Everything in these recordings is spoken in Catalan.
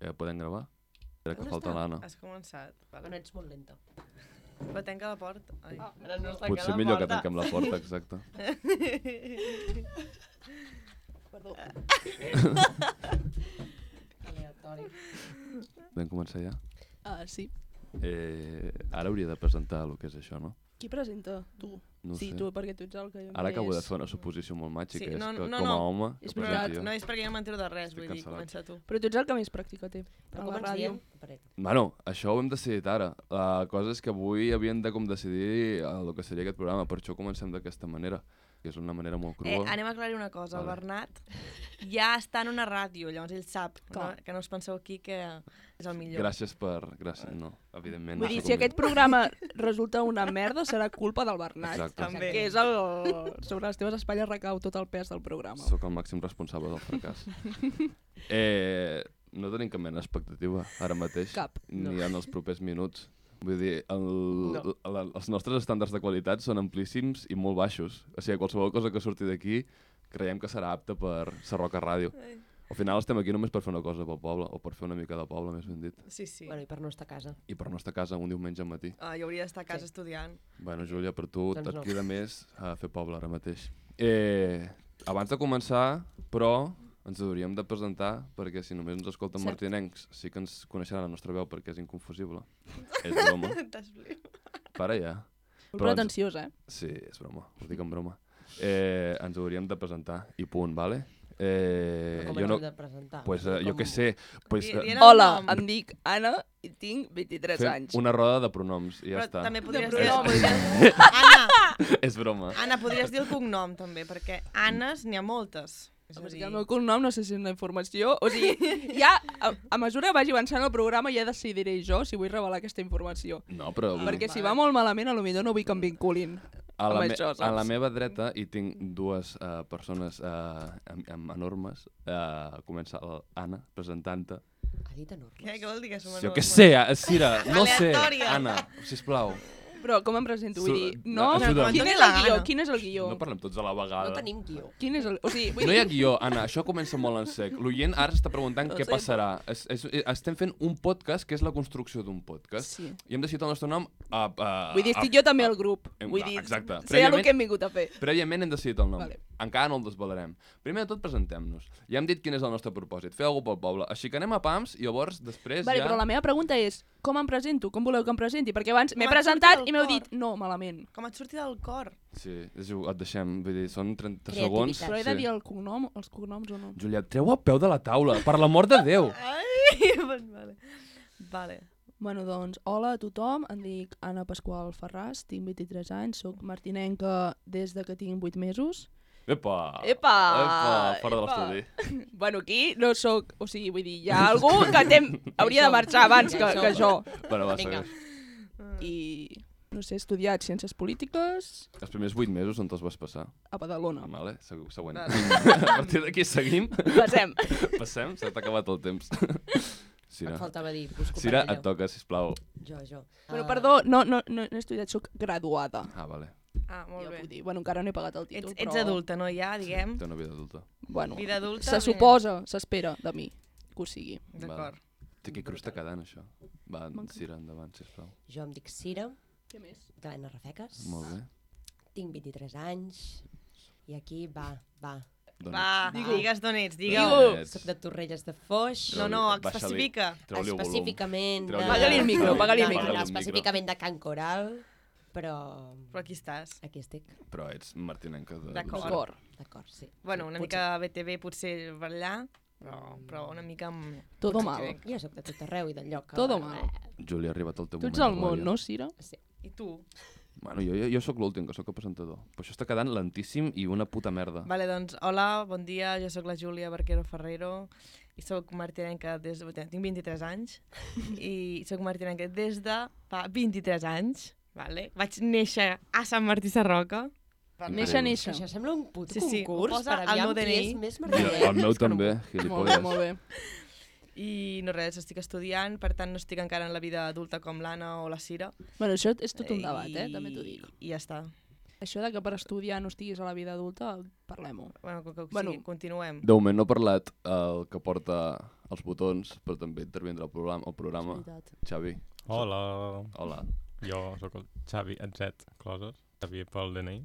Eh, podem gravar? Crec que On falta està? l'Anna. Has començat. Però Vale. no ets molt lenta. Però tanca la porta. Ai. Ah. Ara no es tanca Potser la millor que porta. tanquem la porta, exacte. Perdó. Aleatori. Podem començar ja? Ah, sí. Eh, ara hauria de presentar el que és això, no? Qui presenta? Tu. No ho sí, sé. tu, perquè tu ets el que... Ara acabo de fer una suposició molt màgica, Sí, és no, que no, com a no. home... És que veritat, presenti jo. No, és perquè jo no m'entero de res, Estic vull dir, cancel·lat. comença tu. Però tu ets el que més pràctica té. Però A com la ens ràdio. diem? Espera't. Bueno, això ho hem decidit ara. La cosa és que avui havien de com decidir eh, el que seria aquest programa, per això comencem d'aquesta manera, que és una manera molt Eh, crua. anem a aclarir una cosa. El Vale. Bernat ja està en una ràdio, llavors ell sap no? Clar. que no us penseu aquí que és el millor. Gràcies per... Gràcies, no, evidentment. Vull no dir, sóc si un- aquest programa resulta una merda, serà culpa del Bernat. Exacte. També. Que és el... Sobre les teves espatlles recau tot el pes del programa. Sóc el màxim responsable del fracàs. eh, no tenim cap mena d'expectativa ara mateix, Cap. ni no. en els propers minuts. Vull dir, el, No. no. la, els nostres estàndards de qualitat són amplíssims i molt baixos. O sigui, qualsevol cosa que surti d'aquí creiem que serà apta per Sarroca Ràdio. Ai. Al final estem aquí només per fer una cosa pel poble, o per fer una mica de poble, més ben dit. Sí, sí. Bueno, i per no estar a casa. I per no estar a casa un diumenge al matí. Ah, jo hauria d'estar a casa Sí. estudiant. Bueno, Júlia, per tu Doncs doncs et no. queda més a fer poble ara mateix. Eh, abans de començar, però, ens hauríem de presentar, perquè si només ens escolten Cert. martinencs, sí que ens coneixeran la nostra veu perquè és inconfusible. és broma. T'explico. Para ja. Molt Però ens- pretensiós, eh? Sí, és broma. Ho dic en broma. Eh, ens hauríem de presentar, i punt, vale? Eh, Com jo ens no... hem de presentar? Pues, eh, jo Com- què sé, pues, Di- eh, dient el Hola, nom. em dic Anna i tinc 23 fem anys. una roda de pronoms i ja Però està. també podries De dir... pronoms. podries- Anna, és broma. Anna, podries dir el cognom, també, perquè Anes n'hi ha moltes. És a És dir, que el meu cognom no sé si és una informació, o sigui, ja a, a mesura que vagi avançant el programa ja decidiré jo si vull revelar aquesta informació. No, però... vull dir- Perquè si va molt malament, a lo millor no vull que em vinculin. Mm. a la, amb me això, a la saps? meva dreta hi tinc dues uh, persones uh, amb, amb enormes. Uh, comença l'Anna, presentant-te. Ha dit enormes. Què, què vol dir que som Jo què enormes? sé, eh, Sira, no sé. Aleatòria. Anna, sisplau, Però com em presento? Vull dir, Su- no, ajuda'm. quin Doni és la el guió? gana. Quin és el guió? no parlem tots a la vegada. No tenim guió. Quin és el... O sigui, vull No hi dir, ha guió, Anna, això comença molt en sec. L'oient ara està preguntant Ho què sento. passarà. Es, es, estem fent un podcast que és la construcció d'un podcast. Sí. I hem decidit el nostre nom a... a vull dir, a- estic jo també al grup. Em- Vull dir, exacte. sé el Prèviament- que hem vingut a fer. Prèviament hem decidit el nom. Vale. Vale. Encara no el desvelarem. Primer de tot, presentem-nos. Ja hem dit quin és el nostre propòsit. Fer alguna pel poble. Així que anem a PAMS i llavors després Vale, ja... però la meva pregunta és, com em presento? Com voleu que em presenti? Perquè abans m'he M'ha presentat sortit i el m'heu cor. dit, no, malament. Com et surti del cor. Sí, és igual, et deixem. Vull dir, són 30 Creativitat. segons. Clar, Però he de sí. dir el cognom, els cognoms o no? Julià, treu el peu de la taula, per l'amor de Déu. Ai, doncs vale. Vale. Bueno, doncs, hola a tothom, em dic Anna Pasqual Ferràs, tinc 23 anys, sóc martinenca des de que tinc 8 mesos. Epa! Epa! Epa! Fora de Epa! l'estudi. Mm. Bueno, aquí no sóc... O sigui, vull dir, hi ha algú que té, hauria de marxar abans que, que jo. Bueno, va, Vinga. segueix. I, no sé, he estudiat Ciències Polítiques Els primers 8 mesos on te'ls vas passar. a Badalona. Vale, segu- següent. Vale. a partir d'aquí seguim. Passem. Passem, s'ha acabat el temps. Et Sira, faltava dir, busco Sira parella. et toca, sisplau. Jo, jo. Bueno, Ah, perdó, no, no, no, no he estudiat, sóc graduada. Ah, vale. Ah, molt ja bé. puc dir. Bueno, encara no he pagat el Ets, títol, ets però... adulta, no? Ja, diguem. Té una vida adulta. Bueno, Vida adulta. se bé. suposa, s'espera de mi que ho sigui. D'acord. Té que cruz està quedant, això. Va, Sira, endavant, sisplau. Jo em dic Sira, Què més? de l'Anna Rafeques. Molt bé. Tinc 23 anys. I aquí, va, va. Dona. Va, Digue-ho. digues d'on ets, digue-ho. Digue-ho. Soc de Torrelles de Foix. No, no, Baixa-li. especifica. Treu-li el volum. específicament... Treu-li de- el Apaga-li el micro, volum. apaga-li el No, no, micro. no, específicament de Can Coral, però... Però aquí estàs. Aquí estic, Però ets martinenca de... D'acord. Lucena. Cor. d'acord, sí. Bueno, una Potser- mica BTV potser per allà, però, però una mica... Amb... Todo potser mal. crec. Jo sóc de tot arreu i del lloc. que- Todo mal. Júlia, ha arribat el teu Tu moment. ets el de món, glòria. no, Sira? Sí. I tu? Bueno, jo, jo, jo sóc l'últim, que sóc el presentador. Però això està quedant lentíssim i una puta merda. Vale, doncs, hola, bon dia, jo sóc la Júlia Barquero Ferrero i sóc martinenca des de... Tinc 23 anys i sóc martinenca des de fa 23 anys, vale? Vaig néixer a Sant Martí Sarroca. Néixer, Increïble. néixer. Això sembla un puto Sí, sí, ho concurs posa per al meu aviam qui DNI. és més Jo, merdader. eh, el meu també, Molt bé, gilipolles. molt bé. I no res, estic estudiant, per tant no estic encara en la vida adulta com l'Anna o la Sira. Bueno, això és tot Eh, un debat, eh? També t'ho dic. I ja està. Això de que per estudiar no estiguis a la vida adulta, parlem-ho. Bueno, com que o sigui, Bueno. bueno. continuem. De moment no he parlat el que porta els botons, però també intervindrà el programa, el programa. Xavi, Hola, hola. jo sóc el Xavi Atzet Closes, Xavi pel DNI,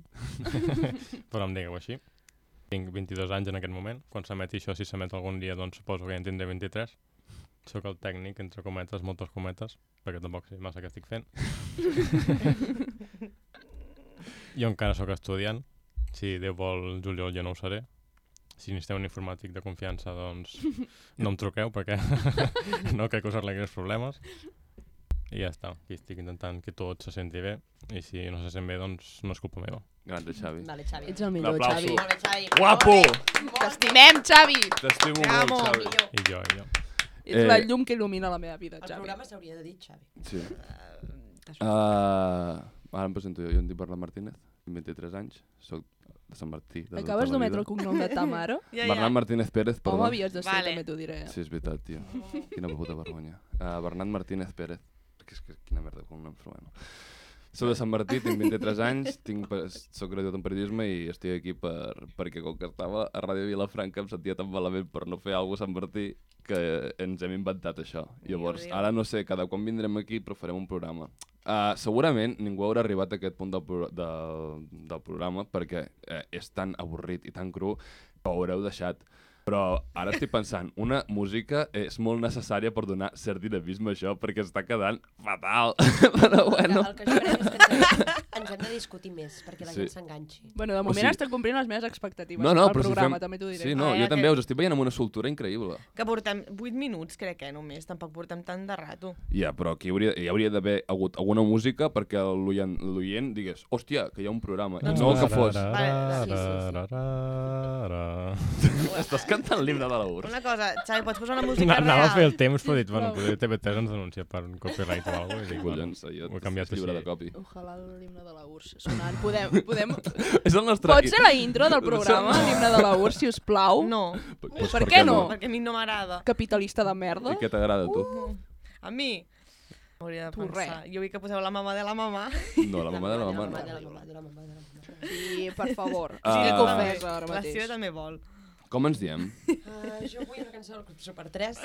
però em digueu així. Tinc 22 anys en aquest moment, quan s'emeti això, si s'emet algun dia, doncs suposo que ja en tindré 23. Sóc el tècnic, entre cometes, moltes cometes, perquè tampoc sé massa què estic fent. jo encara sóc estudiant, si Déu vol juliol jo no ho seré. Si necessiteu un informàtic de confiança, doncs no em truqueu perquè no crec que us arreglis problemes. I ja està, aquí estic intentant que tot se senti bé i si no se sent bé, doncs no és culpa meva. Grande, Xavi. Vale, Xavi. Ets el millor, Un aplauso. Xavi. Molt bé, Xavi. Guapo! T'estimem, Xavi! T'estimo molt, T'amo. Xavi. Millor. I jo, i jo. Ets Eh, eh... la llum que il·lumina la meva vida, El Xavi. programa s'hauria de dir Xavi. Sí. Eh, Ah, t'has- Uh, ara em presento jo, jo em dic Bernat Martínez, tinc 23 anys, soc de Sant Martí. De Acabes tota la d'ometre el vida. cognom de ta mare? Ja, ja. Bernat Martínez Pérez, perdó. Home, eh? havies de ser, Vale. vale. també t'ho diré. Sí, és veritat, tio. Quina puta vergonya. Uh, Bernat Martínez Pérez. Que és que quina merda com nom, però bueno. Soc de Sant Martí, tinc 23 anys, tinc, pe- soc graduat en periodisme i estic aquí per, perquè com que estava a Ràdio Vilafranca em sentia tan malament per no fer alguna cosa a Sant Martí que ens hem inventat això. Llavors, Déu. ara no sé, cada quan vindrem aquí però farem un programa. Uh, segurament ningú haurà arribat a aquest punt del, pro del, del programa perquè eh, és tan avorrit i tan cru que ho haureu deixat. Però ara estic pensant, una música és molt necessària per donar cert dinamisme a això, perquè està quedant fatal. Però bueno... El que esperem és que ens hem, ens hem de discutir més perquè la Sí. gent s'enganxi. Bueno, de O moment sigui- està complint les meves expectatives No, no, pel però si programa, fem... també t'ho diré. Sí, no, Ah, jo ja, també que- us estic veient amb una soltura increïble. Que portem 8 minuts, crec que només, tampoc portem tant de rato. Ja, però aquí hauria, hi hauria d'haver hagut alguna música perquè l'oient- l'oient digués hòstia, que hi ha un programa, i Doncs Doncs no el que fos. Vale, sí, sí, Estàs cantant l'himne de la URSS. Una cosa, Xavi, pots posar una música Anava a fer real? el temps, però he dit, bueno, potser TV3 ens denuncia per un copyright o alguna cosa. Collons, allò ho he canviat t'has lliure així. de copi. Ojalà l'himne de la URSS sonant. Podem, podem... És el nostre... Pot ser la intro del programa, l'himne de la URSS, si us plau? No, Pues Doncs Per què no? perquè a mi no m'agrada. Capitalista de merda? I què t'agrada, a tu? Uh. A mi? Hauria de Tu pensar. Jo vull que poseu la mamà de la mamà. No, la mamà de la mamà De no. la mamà, de la mamà, de la mamà. Sí, per favor. Ah. Sí, que ofesa ara La Sia mateix. també vol. Com ens diem? Ah, jo vull una cançó del Club Super 3.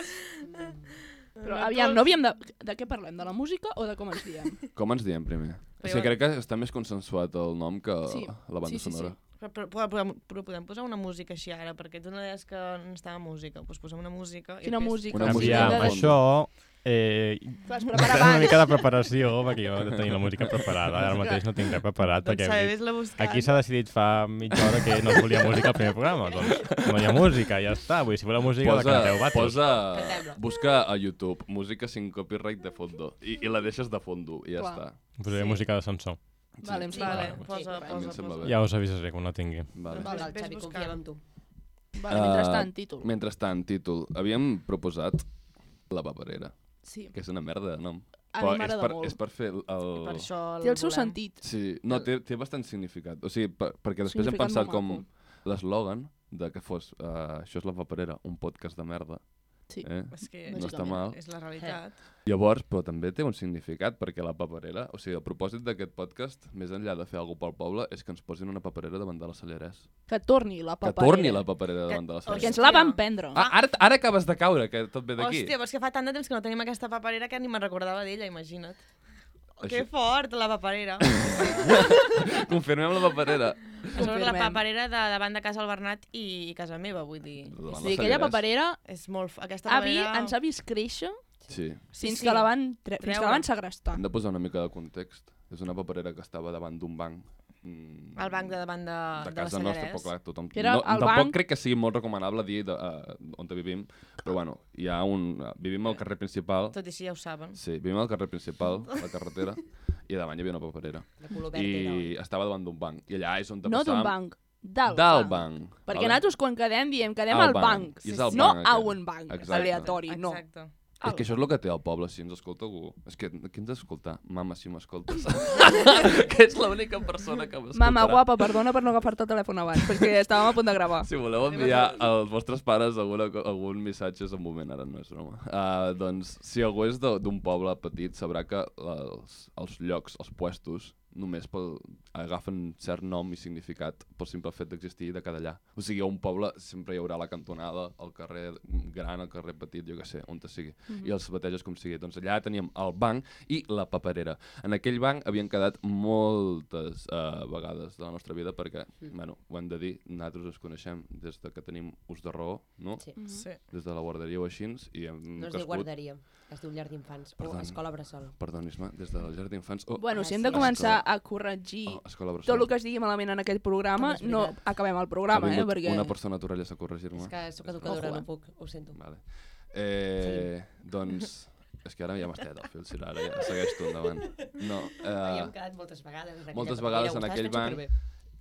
Però aviam, no havíem de... De què parlem? De la música o de com ens diem? Com ens diem primer? És Però- que crec que està més consensuat el nom que Sí. la banda Sí, sí, sonora. Però, però, però, però, però podem posar una música així ara, perquè tu no deies que no estava música. Doncs posem una música. Quina després- música? Una música Aviam, de fons. això... Eh, T'has necessitem preparat una abans. mica de preparació, perquè jo he de tenir la música preparada. Ara mateix no tinc res preparat, Doncs perquè Xavi, hem dit- vés-la buscant. aquí s'ha decidit fa mitja hora que no es volia música al primer programa. Doncs no hi ha música, ja està. Vull dir, si voleu música, la canteu, Posa, vatos. posa, Cantem-la. busca a YouTube música sin copyright de fondo i, i la deixes de fondo i ja Clar. està. Posaré Sí. música de Samsó. Vale, em sembla. Vale, Vale. Sí, posa, vale. A mi posa, em sembla posa. bé. Ja us avisaré quan la tingui. Vale. Val, Ves Xavi, buscant. confiem en tu. Ah, Vale, mentrestant, títol. Mentrestant, títol. Havíem proposat La Paperera, Sí. que és una merda de nom. A Però mi és m'agrada per, molt. és per fer el... I Per això Té el seu volem. sentit. Sí, no, té, té bastant significat. O sigui, per, perquè després hem Significat pensat molt com maco. l'eslògan de que fos uh, això és la paperera, un podcast de merda. Sí. Eh? És que No està Bàsicament. mal. és la Eh. realitat. Llavors, però també té un significat, perquè la paperera, o sigui, el propòsit d'aquest podcast, més enllà de fer alguna pel poble, és que ens posin una paperera davant de les celleres. Que torni la Que paperera. torni la paperera Que- davant de les Perquè celleres. ens la van prendre. Ah, ara, ara acabes de caure, que tot ve d'aquí. Hòstia, però és que fa tant de temps que no tenim aquesta paperera que ni me'n recordava d'ella, imagina't. Això- Que fort, la paperera. Confirmem la paperera. A sobre la Confirmem. paperera de davant de casa del Bernat i casa meva, vull dir. Davant O les sigui, aquella celleres. paperera, És molt... f- Aquesta avi, paperera... ens ha vist créixer Sí, Sí, fins sí. que la van, tre... fins que Treure. la van segrestar. hem de posar una mica de context. És una paperera que estava davant d'un banc. Mm, Al banc de davant de, de les casa nostra, però Sallarès. clar, tothom... Era no, el tampoc banc- crec que sigui molt recomanable dir de, uh, on vivim, però bueno, hi ha un... Uh, vivim al carrer principal, Tot i així ja ho saben. sí, vivim al carrer principal, a la carretera, i davant hi havia una paperera. De color verd era. I estava davant d'un banc, i allà és on No d'un passàvem- banc, del, Del banc. banc. Perquè nosaltres quan quedem diem quedem Al al banc. banc, I és al no banc, a aquest. un banc, Exacte. aleatori, no. Exacte. És que això és el que té el poble, si ens escolta algú. És que qui ens escolta? Mama, si m'escoltes. que és l'única persona que m'escoltarà. Mama, guapa, perdona per no agafar-te el telèfon abans, perquè estàvem a punt de gravar. Si voleu enviar als vostres pares alguna, co- algun missatge, és un moment, ara no és broma. Uh, doncs, si algú és de- d'un poble petit, sabrà que els, els llocs, els puestos, només pel, agafen cert nom i significat pel simple fet d'existir i de quedar allà. O sigui, a un poble sempre hi haurà la cantonada, el carrer gran, el carrer petit, jo què sé, on te sigui. Mm Mhm. -hmm. I els bateges com sigui. Doncs allà teníem el banc i la paperera. En aquell banc havien quedat moltes uh, vegades de la nostra vida perquè, mm. bueno, ho hem de dir, nosaltres ens coneixem des de que tenim ús de raó, no? Sí. Mhm. Sí. Des de la guarderia o així, i hem No es diu crescut... guarderia, es diu llar d'infants o Perdona. escola bressol. Perdonis-me, des de la llar d'infants... Oh, Bueno, si hem de Ah, sí. començar a corregir oh, escola tot Bressol. el que es digui malament en aquest programa, També és no veritat. acabem el programa, ha eh? vingut Perquè... una persona a Torelles a corregir-me. És que sóc Ojo, educadora, eh. no puc, ho sento. Vale. Eh, doncs... És que ara ja m'has tallat el fil, si ara ja segueix tu endavant. No, Hi hem eh, quedat moltes vegades. en moltes aquella vegades en paperera, ho aquell estàs fent banc. superbé.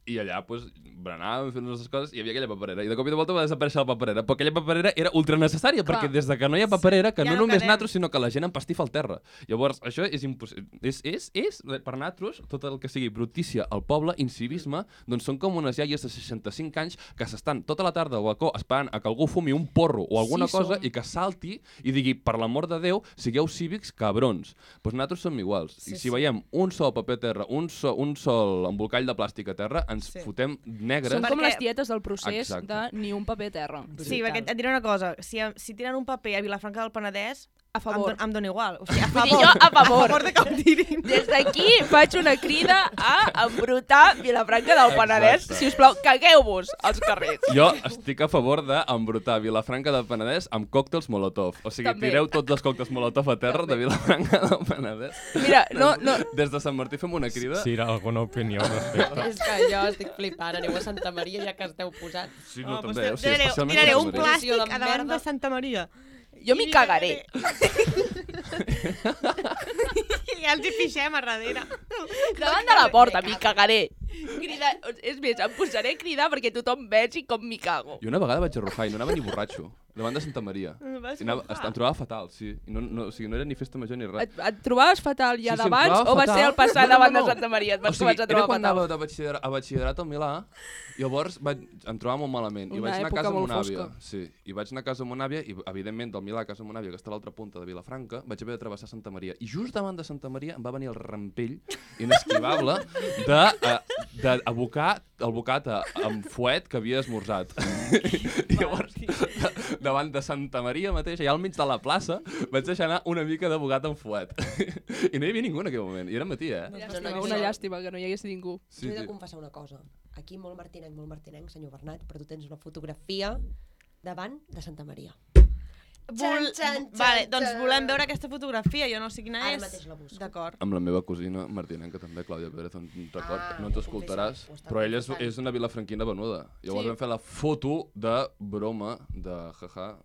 I allà, doncs, berenàvem, fent les nostres coses, i hi havia aquella paperera. I de cop i de volta va desaparèixer la paperera. Però aquella paperera era ultra necessària, Clar. perquè des de que no hi ha paperera, que Ja no, no només quedem. nosaltres, sinó que la gent empastifa al terra. Llavors, això és impossible. És, és, és, per nosaltres, tot el que sigui brutícia al poble, incivisme, doncs són com unes iaies de 65 anys que s'estan tota la tarda al balcó esperant a que algú fumi un porro o alguna Sí, cosa som. i que salti i digui, per l'amor de Déu, sigueu cívics cabrons. Doncs pues nosaltres som iguals. Sí, I si sí. veiem un sol paper a terra, un sol, un sol embolcall de plàstic a terra, ens Sí. fotem negres. Són Perquè- com les tietes del procés Exacte. de ni un paper a terra. Sí, Brutal. perquè et diré una cosa, si, si tiren un paper a Vilafranca del Penedès, A favor. Em, don, em dona igual. O sigui, a Vull dir, favor. jo a favor. A favor de que em tirin. Des d'aquí faig una crida a embrutar Vilafranca del Penedès. Exacte. Si us plau, cagueu-vos als carrers. Jo estic a favor d'embrutar Vilafranca del Penedès amb còctels Molotov. O sigui, També. tireu tots els còctels Molotov a terra de Vilafranca del Penedès. Mira, no, no, Des de Sant Martí fem una crida. Si hi ha alguna opinió al respecte. És que jo estic flipant, aneu a Santa Maria ja que esteu posats. Sí, Ah, no, doncs també. O tiraré- sigui, especialment... tiraré a un Sant Martí. pla- plàstic Posició de a davant merda. de Santa Maria. jo m'hi cagaré. I ja els hi pixem a darrere. Davant de la porta m'hi cagaré. Crida, és més, em posaré a cridar perquè tothom vegi com m'hi cago. Jo una vegada vaig arrufar i no anava ni borratxo, davant de Santa Maria. Mm, Vas I anava, arrufar? est- em trobava fatal, sí. I no, no, o sigui, no era ni festa major ni res. Et, et trobaves fatal ja Sí, sí, em d'abans trobava o va fatal. ser el passar No, no, davant no. de Santa Maria? Et O vas sigui, començar a era trobar quan fatal. anava de batxillerat, a batxillerat al Milà i llavors vaig, em trobava molt malament. I Una vaig anar a època casa amb molt una àvia. fosca. Sí, I vaig anar a casa amb una àvia i, evidentment, del Milà a casa amb una àvia, que està a l'altra punta de Vilafranca, vaig haver de travessar Santa Maria. I just davant de Santa Maria em va venir el rampell inesquivable d'abocar el bocata amb fuet que havia esmorzat. I llavors, davant de Santa Maria mateix, allà al mig de la plaça, vaig deixar anar una mica de bocata amb fuet. I no hi havia ningú en aquell moment. I era matí, eh? No, no, Una no. llàstima que no hi hagués ningú. Sí, T'he de confessar una cosa. Aquí molt martinenc, molt martinenc, senyor Bernat, però tu tens una fotografia davant de Santa Maria. Vol... Txan, txan, Vale, txan, doncs txan. volem veure aquesta fotografia, jo no sé quina Ara és. mateix la busco. D'acord. amb la meva cosina Martina, que també, Clàudia Pérez, un un record, Ah, ah, no ens ho escoltaràs, confesso, ho estava però ella és, escoltant. és una vilafranquina venuda. Llavors Sí. sí. vam fer la foto de broma de jaja.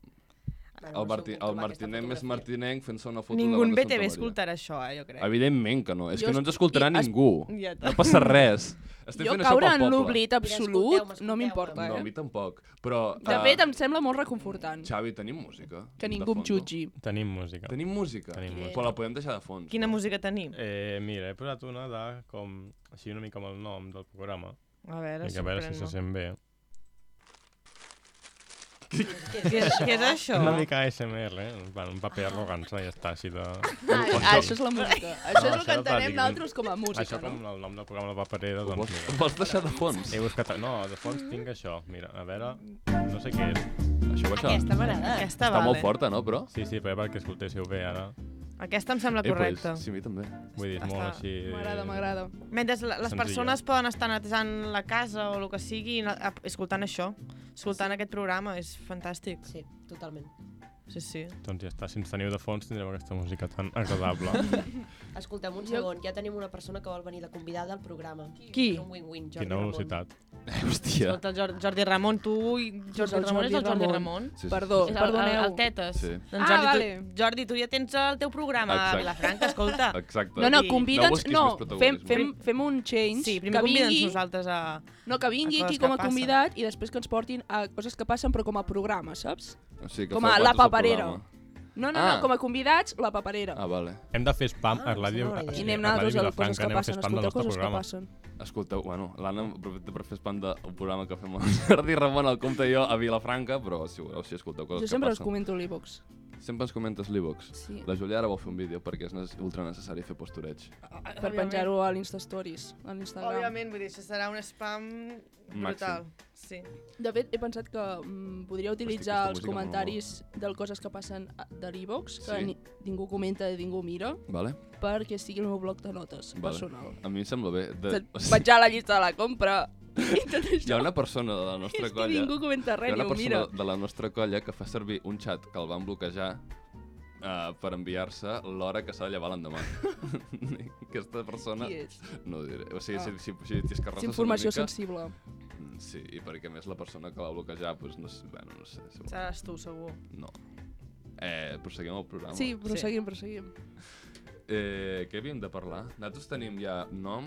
El, Marti, el martinenc més martinenc fent-se una foto Ningú en davant de Santa BTV Maria. escoltarà això, eh, jo crec. Evidentment que no, és Jo que no ens estic- escoltarà i es- ningú. Ja està. No passa res. Estem Jo fent això caure pel en poble. l'oblit escolteu-me, absolut escolteu-me. no m'importa, No, a mi eh? tampoc. Però, De eh, fet, em sembla molt reconfortant Xavi, tenim música? que de ningú em fondo? jutgi. Tenim música. Tenim música? Tenim música. Però la podem deixar de fons. Quina música tenim? Eh, mira, he posat una de com... Així una mica amb el nom del programa. A veure, Vinga, a veure si se sorprèn-me. sent bé. Què, és- què és això? Una mica ASMR, eh? Bueno, un paper arrogança, ja està, així de... Ah, això és la música. Això és el No, que això entenem pràcticament- nosaltres com a Això música, com no? el nom del programa de la paperera, Ho doncs vols, mira. ho vols deixar de fons? He buscat... No, de fons tinc això. Mira, a veure... No sé què és. Això ho això. Aquesta m'agrada. Aquesta, Està vale. molt forta, no, però? Sí, sí, però perquè escoltéssiu bé ara. Aquesta em sembla Eh, pues, correcta. Sí, a mi també. Vull dir, és molt Està- així... M'agrada, m'agrada. Mentre la- les Senzilla. persones poden estar netejant la casa o el que sigui, i na- ap- escoltant això, escoltant aquest programa, és fantàstic. Sí, totalment. Sí, sí. Doncs ja està, si ens teniu de fons tindrem aquesta música tan agradable. Escolta'm, un Jo- segon. Ja tenim una persona que vol venir de convidada al programa. Qui? És un win-win, Jordi Quina Ramon. velocitat. Hòstia. Escolta, el Jor- Jordi Ramon, tu i Jordi el Ramon és el Jordi Jordi Ramon. Ramon. Sí, sí, Perdó, És el, perdoneu. El, el Tetes. Sí. Doncs Ah, Jordi, vale. tu, Jordi, tu ja tens el teu programa Exacte. a Vilafranca, escolta. Exacte. No, no, I- No convida'ns, busquis no, més protagonisme. fem, fem, fem un change, Sí, primer que convida'ns vingui, nosaltres a... no, que vingui a coses aquí com que a passen. convidat i després que ens portin a coses que passen però com a programa, saps? O sigui, que com feu a la vosaltres el paperera. programa. No, no, Ah. no, com a convidats, la paperera. Ah, vale. Hem de fer spam Ah, a Ràdio... sembla una I sí, anem a Ràdio nosaltres a les coses Vilafranca, que anem a fer passen, spam del escolteu nostre coses que programa. passen. Escolteu, bueno, l'Anna aprofita per fer spam del programa que fem amb el Jordi Ramon, el compte i jo, a Vilafranca, però si voleu, si escolteu coses Jo sempre que us passen. comento l'e-box. Sempre ens comentes l'e-box. Sí. La Júlia ara vol fer un vídeo perquè és nes- ultra necessari fer postureig. Ah. Per penjar-ho a l'Instastories, a l'Instagram. Òbviament, vull dir, això serà un spam brutal. Sí. De fet, he pensat que mm, podria utilitzar aquesta els música mola comentaris de coses que passen a- de l'e-box, que Sí. ni, ningú comenta i ningú mira, Vale? perquè sigui el meu bloc de notes Vale. personal. A mi em sembla bé. De... o sigui, Vaig a la llista de la compra i tot Hi ha això. una persona de la nostra és que colla... ningú comenta Hi res ha ni una ho mira. persona de la nostra colla que fa servir un xat que el van bloquejar uh, per enviar-se l'hora que s'ha de llevar l'endemà. Aquesta persona... Qui és? No ho diré. O sigui, Ah. si, si, si, si És escarrasses informació una mica... sensible. Mm, Sí, i perquè a més la persona que va bloquejar, doncs no sé, bueno, no sé, segur. Seràs tu, segur. No. Eh, proseguim el programa. Sí, Sí. proseguim, proseguim. Eh, què havíem de parlar? Nosaltres tenim ja nom,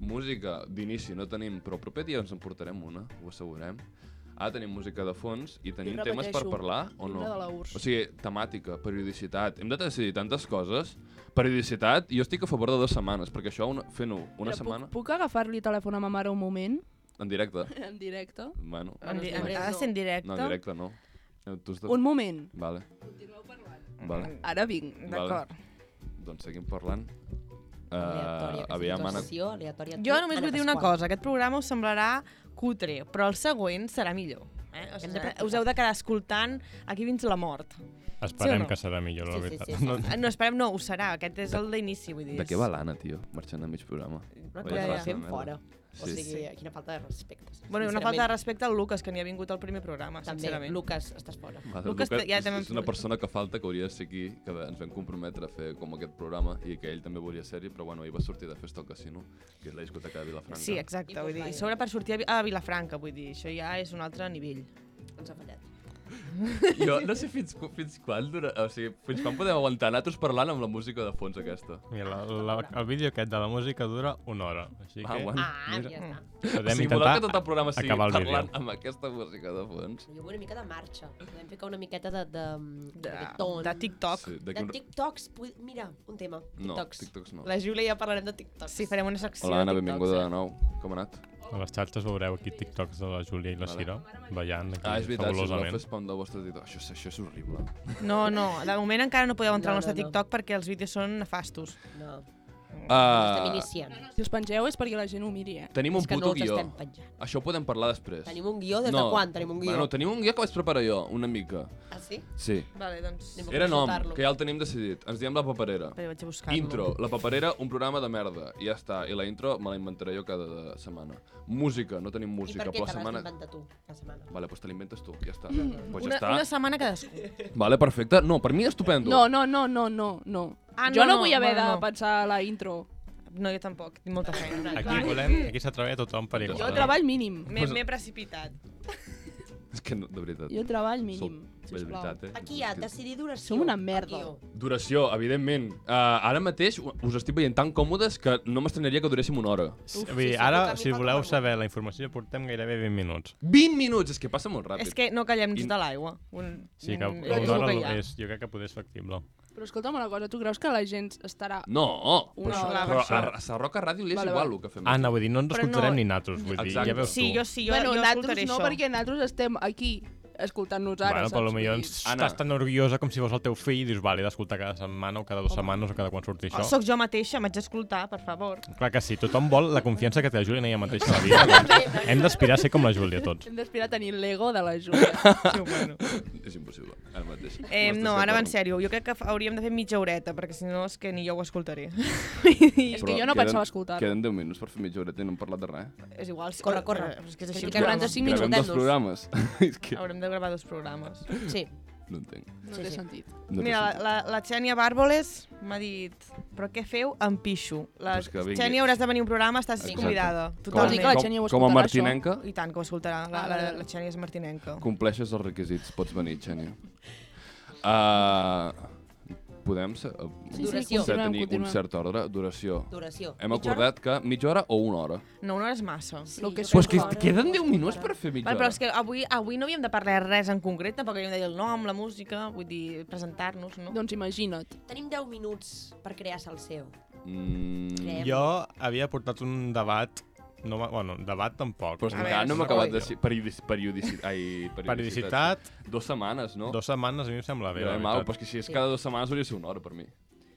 música d'inici no tenim, però el proper dia ens en portarem una, ho assegurem. Ara tenim música de fons i tenim temes per repeteixo, parlar o no? llibre de la URSS. O sigui, temàtica, periodicitat... Hem de decidir tantes coses. Periodicitat, jo estic a favor de dues setmanes, perquè això una, fent-ho una Mira, setmana Puc, puc agafar-li telèfon a ma mare un moment, en directe. en directe? Bueno, Bueno, En, di- és en, directe. ha de ser en directe. no, en directe no. Eh, Tu has de... Un moment. Vale, Continueu parlant. vale. Ara vinc. D'acord. Doncs seguim parlant. Uh, Aleatòria, aquesta aviam, Anna, situació, aleatòria. Jo tu, només Eh, Anna vull dir una Pasqual. cosa. Aquest programa us semblarà cutre, però el següent serà millor. Eh? O Hem sigui, de practicar. us heu de quedar escoltant aquí fins la mort. Esperem no? que serà millor, la Sí, sí, veritat. sí, Ah. sí. No, Eh, No, esperem, no, ho serà. Aquest és el d'inici, vull dir. de què va l'Anna, tio, marxant a mig programa? Una Vaja cosa frase ja, de ja. fem merda. fora. O Sí. sigui, sí. quina falta de respecte. Bueno, i una sincerament. falta de respecte al Lucas, que n'hi ha vingut al primer programa, També, sincerament. Lucas, estàs fora. Va, Lucas, Lucas ja és, també és una em- persona que falta, que hauria de ser aquí, que ens vam comprometre a fer com aquest programa i que ell també volia ser-hi, però bueno, ell va sortir de festa al casino, que és la discoteca de Vilafranca. Sí, exacte. I Vull dir, Volkswagen. I sobre per sortir a, Vi- a Vilafranca, vull dir, això ja és un altre nivell. Ens ha fallat. Jo no sé fins, cu- fins quan dura, o sigui, fins quan podem aguantar nosaltres parlant amb la música de fons aquesta. mira, la, la, el vídeo aquest de la música dura una hora. Així que Ah, bueno. Ah, Mira. ja està. podem o sigui, voleu intentar... que tot el programa sigui acabar el vídeo. parlant amb aquesta música de fons. Jo vull una mica de marxa. Podem ficar una miqueta de... De, De, reggaeton. de TikTok. Sí. Sí, De d'aquí un... TikToks. pu- Mira, un tema. No, TikToks. TikToks no. La Júlia ja parlarem de TikToks. sí, farem una secció Hola, Anna, de TikToks. benvinguda eh? de nou. Com ha anat? A les xarxes veureu aquí TikToks de la Júlia i la Vale. Cira ballant aquí Ah, és veritat, si voleu fabulosament. fer spam del vostre TikTok. Això, és- això és horrible. No, no, de moment encara no podeu entrar No, al nostre no, no. TikTok perquè els vídeos són nefastos. No, ens estem Ah, iniciant. Si us pengeu és perquè la gent ho miri, eh? tenim un És que no puto els guió. estem penjant. Això ho podem parlar després. Tenim un guió des de quan? Tenim un guió. Bueno, tenim un guió que vaig preparar jo, una mica. Ah, sí? Sí. Vale, doncs... Anem a- Era nom, consultar-lo. que ja el tenim decidit. Ens diem La Paperera. Espera, vaig a buscar-lo. Intro. La Paperera, un programa de merda. I ja està. I la intro me la inventaré jo cada setmana. Música. No tenim I per música, què però la te l'has setmana... inventat tu, la setmana? Vale, doncs te l'inventes tu. Ja està. Mm. Doncs ja Una, està. una setmana cadascú. Vale, perfecte. No, per mi estupendo. No, no, no, no, no, no. Ah, jo no, no, no, vull haver bueno, de no. pensar la intro. No, jo tampoc, tinc molta feina. Aquí volem, aquí s'atreveix a tothom per Jo igual. Jo Vale. treball mínim. M'he m'he precipitat. És que no, de veritat. Jo treball Sou- mínim, de sisplau. veritat, eh? Aquí hi ha decidir duració. Som una merda. El guió. Duració, evidentment. Uh, ara mateix us estic veient tan còmodes que no m'estranyaria que duréssim una hora. Uf, Vull dir, ara, si voleu saber la informació, portem gairebé 20 minuts. 20 minuts! És que passa molt ràpid. És que no callem I- sota l'aigua. Un... Sí que un- una és hora el que hi ha. és, jo crec que poder és factible. Però escolta'm una cosa, tu creus que la gent estarà... No, però, Una això- hora. però Això- a, a Sarroca Ràdio li és Vale, igual vale. el que fem. Anna, vull dir, Ah, no ens Però no- escoltarem ni natos, vull dir, Exacte. ja veus Sí, tu. jo sí, jo, jo nosaltres escoltaré no, això. perquè nosaltres estem aquí escoltant-nos ara, Bueno, però saps? potser Vull ens dir, Anna. estàs tan orgullosa com si fos el teu fill i dius, vale, he d'escoltar cada setmana o cada dues setmanes o cada quan surti Ah, Oh, això. soc jo mateixa, m'haig d'escoltar, per favor. Clar que sí, tothom vol la confiança que té la Júlia en ella mateixa a la vida. doncs Hem d'aspirar a ser com la Júlia tots. Hem d'aspirar a tenir l'ego de la Júlia. Sí, bueno. És impossible, ara mateix. Eh, M'estàs no, ara va en acabant. sèrio. Jo crec que fa- hauríem de fer mitja horeta, perquè si no és que ni jo ho escoltaré. És Però que jo no queden- pensava escoltar-ho. Queden 10 minuts per fer mitja horeta i no hem parlat de res. eh? és igual. sí. Corre, corre. Eh, És que és Que així. el fiquem programa. 45 minuts, Gravem dos deu-nos. programes. és que Haurem de gravar dos programes. Doncs Sí. no entenc. No Sí, té sí. sentit. No té Mira, la, sentit. la, la Xènia Bàrboles m'ha dit però què feu? Em pixo. La Doncs que vingui. Xènia hauràs de venir a un programa, estàs Exacte. convidada. Vols dir que la com- Xènia com a ho escoltarà, això? martinenca, I tant, que ho escoltarà. La, Ah, la, vale, vale. la Xènia és martinenca. compleixes els requisits. Pots venir, Xènia. Uh, podem ser, uh, Sí, Duració. ser continuem, tenir un continuem. cert ordre, duració. Duració. Hem acordat que mitja hora o una hora. No, una hora és massa. Lo que Però jo és Pues que crec una hora. queden 10 minuts per fer mitja Val, hora. però és que avui, avui no havíem de parlar res en concret, tampoc havíem de dir el nom, la música, vull dir, presentar-nos, no? Doncs imagina't. Tenim 10 minuts per crear salseu. Mm, Crec. Jo havia portat un debat No, m'ha- bueno, debat tampoc. Però és A que veure, encara no és m'ha una acabat de... qüestió. ci- Periodici... Periodici... Ai, Periodicitat, Dos setmanes, no? no? dues setmanes a mi em sembla bé, Bé, la mal, veritat. però és que si és Sí. cada dues setmanes hauria de ser una hora per mi.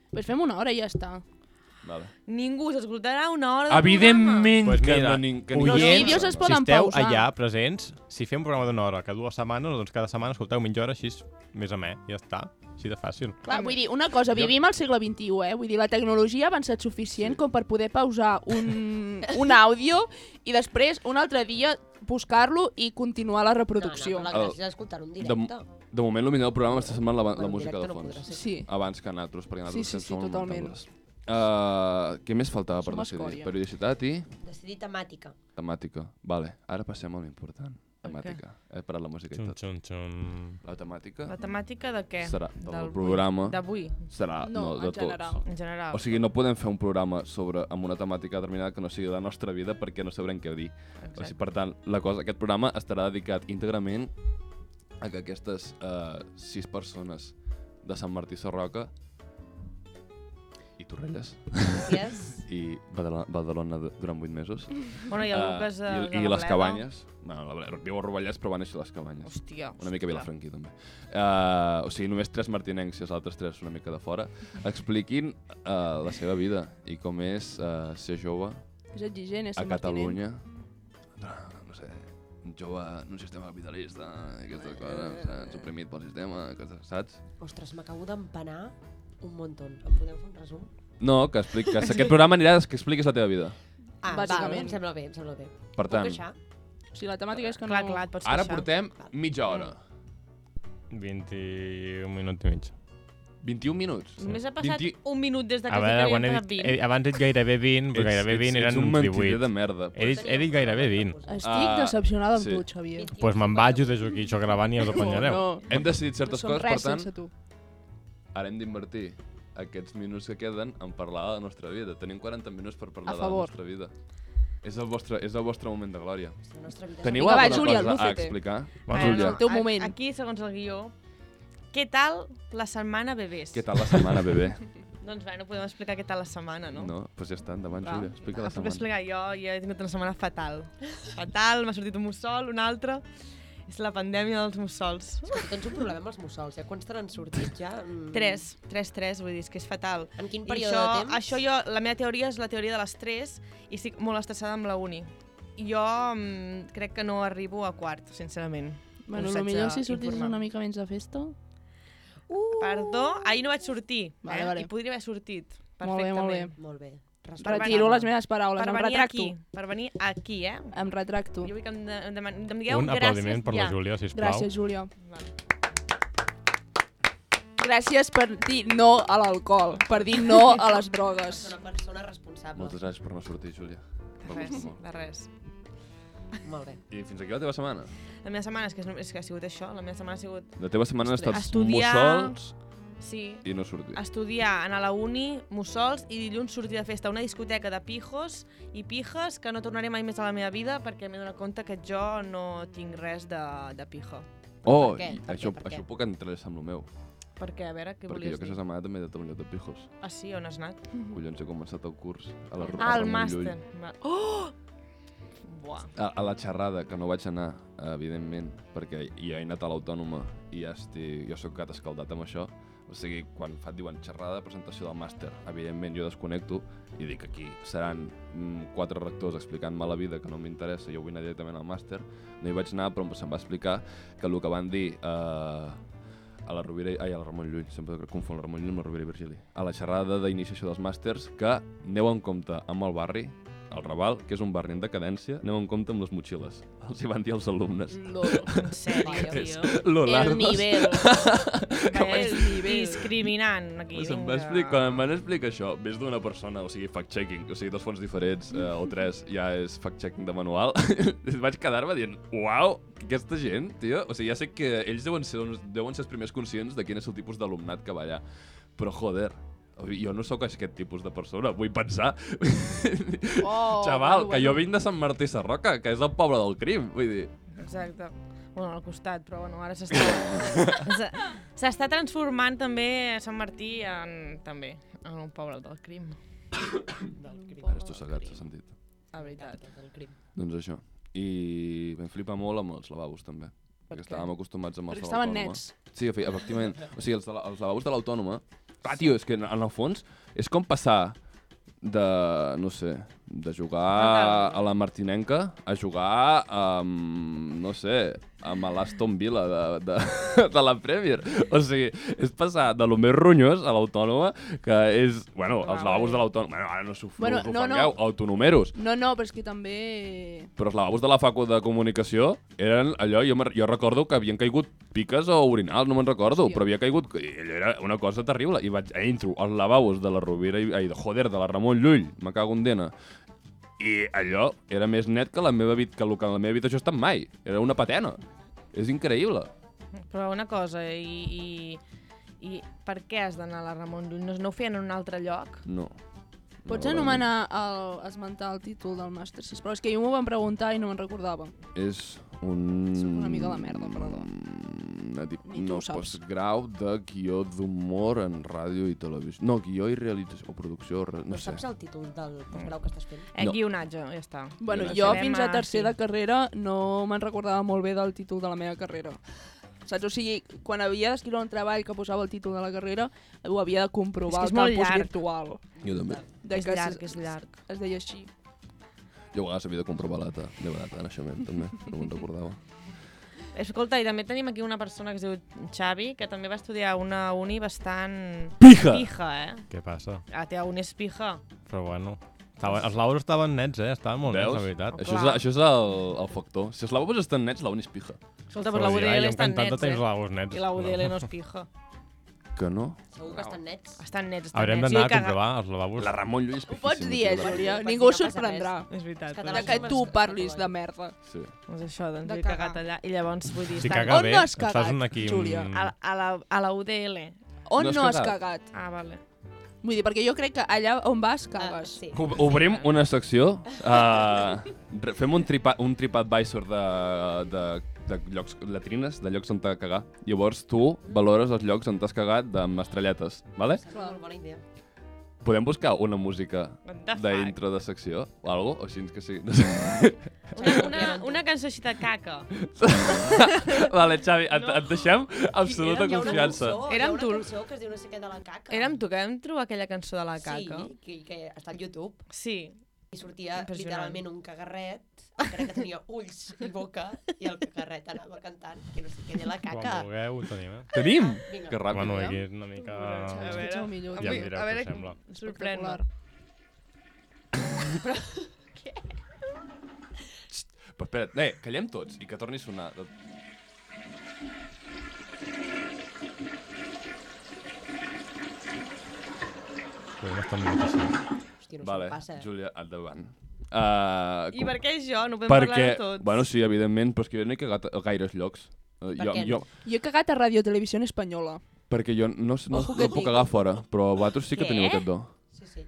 Pues fem una hora i ja està. Vale. Ningú s'escoltarà una hora de Evidentment Pues que mira, no nin- que oients, ningú Los vídeos es si poden esteu pausar. allà presents, si fem un programa d'una hora cada dues setmanes, doncs cada setmana escolteu mitja hora així, més a més, ja està. Així de fàcil. Clar, vull dir, una cosa, vivim al segle XXI, eh? Vull dir, la tecnologia ha avançat suficient com per poder pausar un, un àudio i després, un altre dia, buscar-lo i continuar la reproducció. No, no, però la gràcia és escoltar-ho en directe. De moment, el millor del programa està semblant la, la Bueno, música de directe no fons. podrà ser. Sí. Abans que nosaltres, perquè nosaltres Sí, sí, ens sí, som totalment. nosaltres. Uh, què més faltava per Som decidir? escòria. Periodicitat i Decidir temàtica. temàtica. Vale, ara passem a l'important. Temàtica. He parat la música i Xun, tot. xun, xun. La temàtica La temàtica de què? serà del, Del- programa, D'avui, serà No, no, de en tots. general. en general. O sigui, no podem fer un programa sobre amb una temàtica determinada que no sigui de la nostra vida perquè no sabrem què dir. O sigui, per tant, la cosa, aquest programa estarà dedicat íntegrament a que aquestes eh, sis persones de Sant Martí Sarroca i Torrelles Yes. i Badalona, Badalona de- durant vuit mesos Bueno, i el eh, Lucas... de- de i, i la les Bleda. cabanyes no, la, Bleda- viu a Rovellats però va néixer a les cabanyes Hòstia, una mica hòstia. Vilafranqui, també. Uh, o sigui, només tres martinencs i els altres tres una mica de fora. Expliquin uh, la seva vida i com és uh, ser jove És exigent, és a Sant Martinet. Catalunya. No, no sé, un jove en un sistema capitalista, aquestes coses, saps? suprimit pel sistema, coses, saps? Ostres, m'acabo d'empanar un muntó. Em podeu fer un resum? No, que, explic, que aquest programa anirà des que expliquis la teva vida. Ah, Bàsicament. Val, em sembla bé, em sembla bé. Per tant, Puc queixar? O sigui, la temàtica és que no... Clar, clar, et pots ara queixar. portem mitja hora. 21 minuts i mig. 21 minuts. Només ha passat 20 un minut des de que A veure, quan he havien dit, passat 20. he, eh, abans he dit gairebé 20, però gairebé 20 eren Eh, ets un uns mentider 18. de merda. He dit, he dit gairebé 20. Estic Ah, decepcionada amb sí. tu, Xavier. Doncs pues me'n vaig, us deixo aquí això gravant i us apanyareu. no, Hem decidit certes som coses, per res tant, sense tu. ara hem d'invertir aquests minuts que queden en parlar de la nostra vida. Tenim 40 minuts per parlar A de la favor. nostra vida. És el vostre, és el vostre moment de glòria. La nostra vida Teniu Vinga, va, alguna Júlia, cosa a lúcete. explicar? Va, Bueno, Júlia, El teu a- moment. Aquí, segons el guió, què tal la setmana bebès? què tal la setmana, bebè? Doncs bé, no podem explicar què tal la setmana, no? No? Doncs ja està, endavant, Va. Júlia, explica la Ah, Puc setmana. explicar, jo ja he tingut una setmana fatal. Fatal, m'ha sortit un mussol, un altre. És la pandèmia dels mussols. Tu tens un problema amb els mussols, eh? Quants te n'han sortit ja? Mm. Tres, tres, tres, vull dir, és que és fatal. En quin I període això, de temps? Això jo, la meva teoria és la teoria de les tres i estic molt estressada amb la uni. Jo mm, crec que no arribo a quart, sincerament. Bueno, Missatge el millor si sortis informal. una mica menys de festa. Perdó, ahir no vaig sortir, Vale, eh? vale. i podria haver sortit Molt bé, perfectament. molt bé. Molt bé. Respecte. Retiro venir- les meves paraules, Per em venir retracto. aquí, per venir aquí, eh? Em retracto. Jo vull que em, de, em, deman- em digueu Un gràcies aplaudiment per la ja. Júlia, sisplau. Gràcies, Júlia. Vale. Gràcies per dir no a l'alcohol, per dir no a les drogues. És una persona responsable. Moltes gràcies per no sortir, Júlia. De Va res, gustar molt. de res. Molt bé. I fins aquí la teva setmana. La meva setmana és que, és, no- és que ha sigut això, la meva setmana ha sigut, La teva setmana han estat Estudiar. mussols sí, i no sortir. estudiar, anar a la uni, mussols, i dilluns sortir de festa a una discoteca de pijos i pijes que no tornaré mai més a la meva vida perquè m'he donat compte que jo no tinc res de, de pija. Oh, per què? i Per això, què? Per això què? puc entrar amb el meu. Perquè, a veure, què perquè jo volies dir? aquesta setmana també he anat a un lloc de pijos. Ah, sí? On has anat? Collons, he començat el curs a la Ru- a Ah, el Ramon Llull. màster. Va- Oh! Buah. a, a la xerrada, que no vaig anar, evidentment, perquè ja he anat a l'Autònoma i ja estic, jo sóc gat escaldat amb això. O sigui, quan fa, diuen xerrada de presentació del màster, evidentment jo desconnecto i dic aquí seran mm, quatre rectors explicant-me la vida que no m'interessa, jo vull anar directament al màster. No hi vaig anar, però se'm va explicar que el que van dir eh, a la Rovira, ai, a la Ramon Llull, sempre confon la Ramon Llull amb la Rovira i Virgili, a la xerrada d'iniciació dels màsters, que aneu en compte amb el barri, el Raval, que és un barri en decadència, aneu en compte amb les motxilles. Els hi van dir els alumnes. En sèrio, tio. Lo El lardos. nivell. Vaya el nivell. discriminant aquí, Se'm va vinga. explicar, quan em van explicar això, més d'una persona, o sigui, fact-checking, o sigui, dos fons diferents eh, o tres ja és fact-checking de manual, vaig quedar-me dient, uau, aquesta gent, tio, o sigui, ja sé que ells deuen ser, uns- deuen ser els primers conscients de quin és el tipus d'alumnat que va allà, però joder, o sigui, jo no sóc aquest tipus de persona, vull pensar. Oh, Xaval, bueno, que jo bueno. vinc de Sant Martí Sarroca, que és el poble del crim, vull dir. Exacte. Bueno, al costat, però bueno, ara s'està... s'ha- s'està transformant també Sant Martí en, també, en un poble del crim. Ara estàs segat, s'ha sentit. la veritat. del crim. Doncs això. I vam flipar molt amb els lavabos, també. Perquè què? estàvem acostumats amb els Perquè de estaven l'Autònoma. nets. Sí, efe- efectivament. O sigui, els, de la, els lavabos de l'Autònoma... Ah, tio, és que en, en el fons és com passar de, no sé, de jugar a la Martinenca a jugar amb, no sé, amb l'Aston Villa de, de, de la Premier. O sigui, és passar de lo més ronyós a l'Autònoma, que és, bueno, els lavabos de l'Autònoma, bueno, ara no s'ho Bueno, bueno, no, no, no. no. autonumeros, No, no, però és que també... però els lavabos de la facu de comunicació eren allò, jo, me'n- jo recordo que havien caigut piques o orinals, no me'n recordo, Hòstia. però havia caigut, i allò era una cosa terrible, i vaig, entro als lavabos de la Rovira, i, ai, joder, de la Ramon Llull, me cago en dena, i allò era més net que la meva, habit, que, lo que la meva habitació ha estat mai, era una patena, és increïble. Però una cosa, i, i, i per què has d'anar a la Ramon Llull? No, no ho feien en un altre lloc? No. Pots No, anomenar el, esmentar el títol del màster, sisplau? És que jo m'ho van preguntar i no me'n recordava. És un... Soc una mica de merda, perdó. Una dip... Ni tu No, ho saps. postgrau de guió d'humor en ràdio i televisió. No, guió i realització, o producció, re- No no Però sé. saps el títol del postgrau que estàs fent? Eh, No. no. Guionatge, ja està. Bueno, Gràcies. jo Anem fins a a- tercer de ah, sí. carrera no me'n recordava molt bé del títol de la meva carrera. Saps? O sigui, quan havia d'escriure un treball que posava el títol de la carrera, ho havia de comprovar És que és al molt campus llarg. virtual. Jo també. De és que llarg, es, és llarg. es deia així. Jo a vegades havia de comprovar la data, meva data de naixement, també, no me'n recordava. Escolta, i també tenim aquí una persona que es diu Xavi, que també va estudiar a una uni bastant... Pija! Pija, eh? Què passa? La teva uni és pija. Però bueno... Estava, els lavabos estaven nets, eh? Estaven molt Veus? nets, la veritat. Això és, Clar. això és el, el factor. Si els lavabos estan nets, la uni és pija. Escolta, però la Però, ai, UDL jo estan encantat nets, de tenir eh? lavabos nets. I la UDL No. no és pija. Que no? Segur que estan nets. Estan nets, estan Haurem nets. d'anar I a cagar- comprovar els lavabos. La Ramon Llull és Ho pijíssima. pots dir, eh, tio. Júlia? Pots dir, Ningú no passa sorprendrà. És veritat. Els De catalans que som tu els- parlis de merda. Sí. Doncs això, doncs De he cagat cagar. allà. I llavors, vull dir, Si estan- caga On bé, no has et fas cagat, un aquí... Júlia? un- a, la- a, la, a la UDL. On No no, has has cagat? cagat? Ah, vale. Vull dir, perquè jo crec que allà on vas, Ah, cagues. sí. Ob- Obrim una secció. Uh, fem un, tripa, un TripAdvisor de, de, de llocs, latrines, de llocs on t'ha cagar. Llavors tu valores els llocs on t'has cagat amb estrelletes, vale? És una molt bona idea. Podem buscar una música What the fuck? d'intro de secció o algo, o així que sí. No sé. Una, una, una cançó així de caca. vale, Xavi, et, et deixem absoluta tota Hi ha una confiança. Cançó, Érem Érem tu. tu. Hi ha una cançó que es diu no sé què de la caca. Érem tu, que vam trobar aquella cançó de la caca. Sí, que, que està al YouTube. Sí. I sortia Impressionant. literalment un cagarret, encara que tenia ulls i boca, i el cagarret anava cantant que no sé què de la caca. Quan vulgueu, ho tenim, eh? Tenim! Vinga. Que ràpid. eh? Bueno, Bueno, aquí és una mica... Ah, A veure, el millor. Ja em direu què us sembla. sorprèn-me. Però espera't, eh, callem tots i que torni a sonar. Podem estar moltíssim. Hòstia, no Vale, vale. passa. eh? Júlia, endavant. Uh, I per què jo? No podem parlar Perquè, de tots. bueno, sí, evidentment, però és que jo no he cagat a gaires llocs. Eh, Per jo, què jo, no? Jo he cagat a Radio Televisió Espanyola. perquè jo no, s- no, Ojo que no puc dic. cagar fora, però vosaltres sí que Què? teniu aquest do. Sí, sí.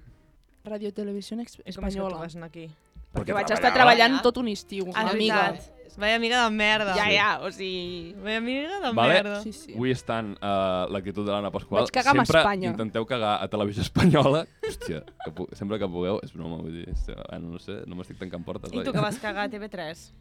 Radio Televisió Ex- És com és que tu Espanyola. vas anar aquí. Perquè vaig treballava. estar treballant tot un estiu. Ah, és amiga. veritat. Vaya amiga de merda. Ja, ja, o sigui... Vaya amiga de Vale. merda. Sí, sí. Avui estan uh, l'actitud de l'Anna Pasqual. Vaig cagar amb sempre Espanya. intenteu cagar a televisió espanyola. Hòstia, que pu- sempre que pugueu, és broma, vull dir, hòstia, ara no sé, no m'estic tancant portes. I tu que vas cagar a TV3.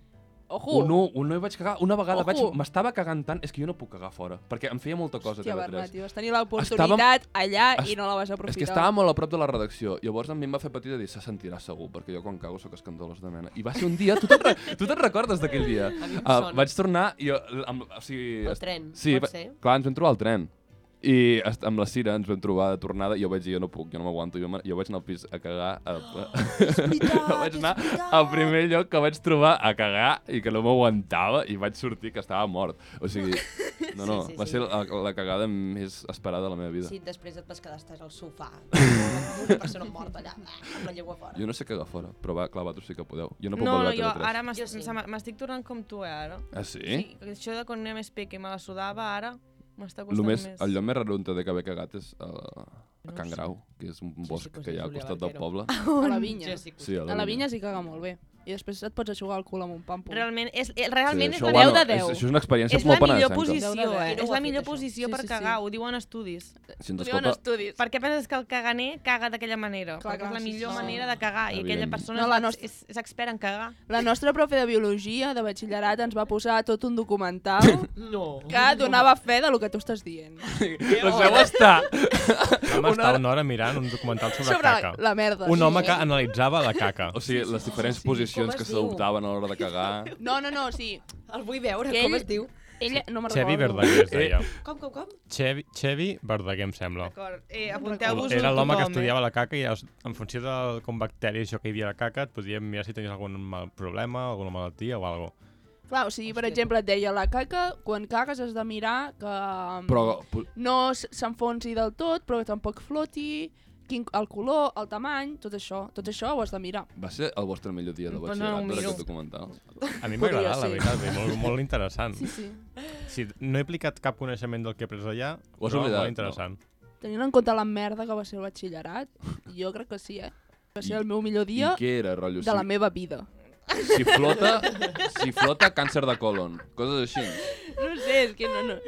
Ojo! Uh. No, no hi vaig cagar. Una vegada Ojo. vaig... M'estava cagant tant, és que jo no puc cagar fora, perquè em feia molta cosa Hòstia, TV3. Bernat, i vas tenir l'oportunitat allà i est- no la vas És aprofitar. que estava molt a prop de la redacció, llavors a mi em va fer petit de dir, se sentirà segur, perquè jo quan cago sóc escandalós de mena. I va ser un dia, tu te'n re... tu te'n recordes d'aquell dia? A mi em Uh, sona. vaig tornar i... Jo, l- amb, o sigui, El est- tren, sí, pot va- ser? Clar, ens vam trobar al tren. I est- amb la Cira ens vam trobar de tornada i jo vaig dir, jo no puc, jo no m'aguanto. Jo, me- jo vaig anar al pis a cagar... A... veritat, vaig és anar veritat. al primer lloc que vaig trobar a cagar i que no m'aguantava i vaig sortir que estava mort. O sigui, no, no, Sí, sí, va sí. ser la, la cagada més esperada de la meva vida. Sí, després et vas quedar estàs al sofà, amb una persona morta allà, amb la llengua fora. Jo no sé cagar fora, però va, clar, vosaltres sí que podeu. Jo no puc no, veure no, jo TV3. ara m'es- Jo sí. em sembla- m'estic tornant com tu, eh, ara. Ah, sí? Sí, això de quan era més peque me la sudava, ara m'està Lo costant més, més. el lloc més rarunta de que haver cagat és a, a Can sé. Grau, que és un sí, bosc pues que hi ha al Júlia costat del poble. Barquero. a la vinya. Jo sí que ho Sí, sé. A la vinya s'hi caga molt bé. i després et pots aixugar el cul amb un pàmpol. Realment és, eh, realment sí, és això, la bueno, 10 de 10. És, això és una experiència és la molt millor penesanca. posició. posició, eh? És Qui no ho ha la fet, millor això? posició Sí, per sí, sí. cagar, ho diuen estudis. Si ens Ho diuen Doncs escolta, estudis. Perquè penses que el caganer caga d'aquella manera, Clar, perquè clar, és la sí, millor sí, sí. manera de cagar, i aquella Evident. persona No, és la ex- nostra- és, és expert en cagar. La nostra profe de biologia, de batxillerat, ens va posar tot un documental No. que donava fe de lo que tu estàs dient. Deixeu estar! Vam estar una hora mirant un documental sobre, Sobre la, caca. la merda. Un home que analitzava la caca. O sigui, les diferents Com posicions es que diu? s'adoptaven a l'hora de cagar... No, no, no, sí. El vull veure, Que com ell- es diu? Ella, no me'n Xevi recordo. Verdaguer es deia. Com, com, com? Xevi, Xevi Verdaguer, em sembla. D'acord, eh, apunteu-vos eh. Era l'home que estudiava la caca i es- en funció de com bacteri això que hi havia a la caca et podien mirar si tenies algun mal problema, alguna malaltia o alguna cosa. Clar, o sigui, per Hòstia. exemple, et deia, la caca, quan cagues has de mirar que mm, Però po- no s- s'enfonsi del tot, però que tampoc floti, quin, el color, el tamany, tot això. Tot això ho has de mirar. va ser el vostre millor dia de Doncs no batxillerat ho per miro. aquest documental. A mi Podria m'agrada, la ser. veritat, és molt, molt interessant. Sí, sí. Sí, no he aplicat cap coneixement del que he après allà, Ho has però oblidat, molt interessant. No. Tenint en compte la merda que va ser el batxillerat, jo crec que sí, eh? Va ser I- el meu millor I dia què era, rotllo? de la Si, meva vida. si, flota, si flota, càncer de colon. Coses així. No sé, és que no, no.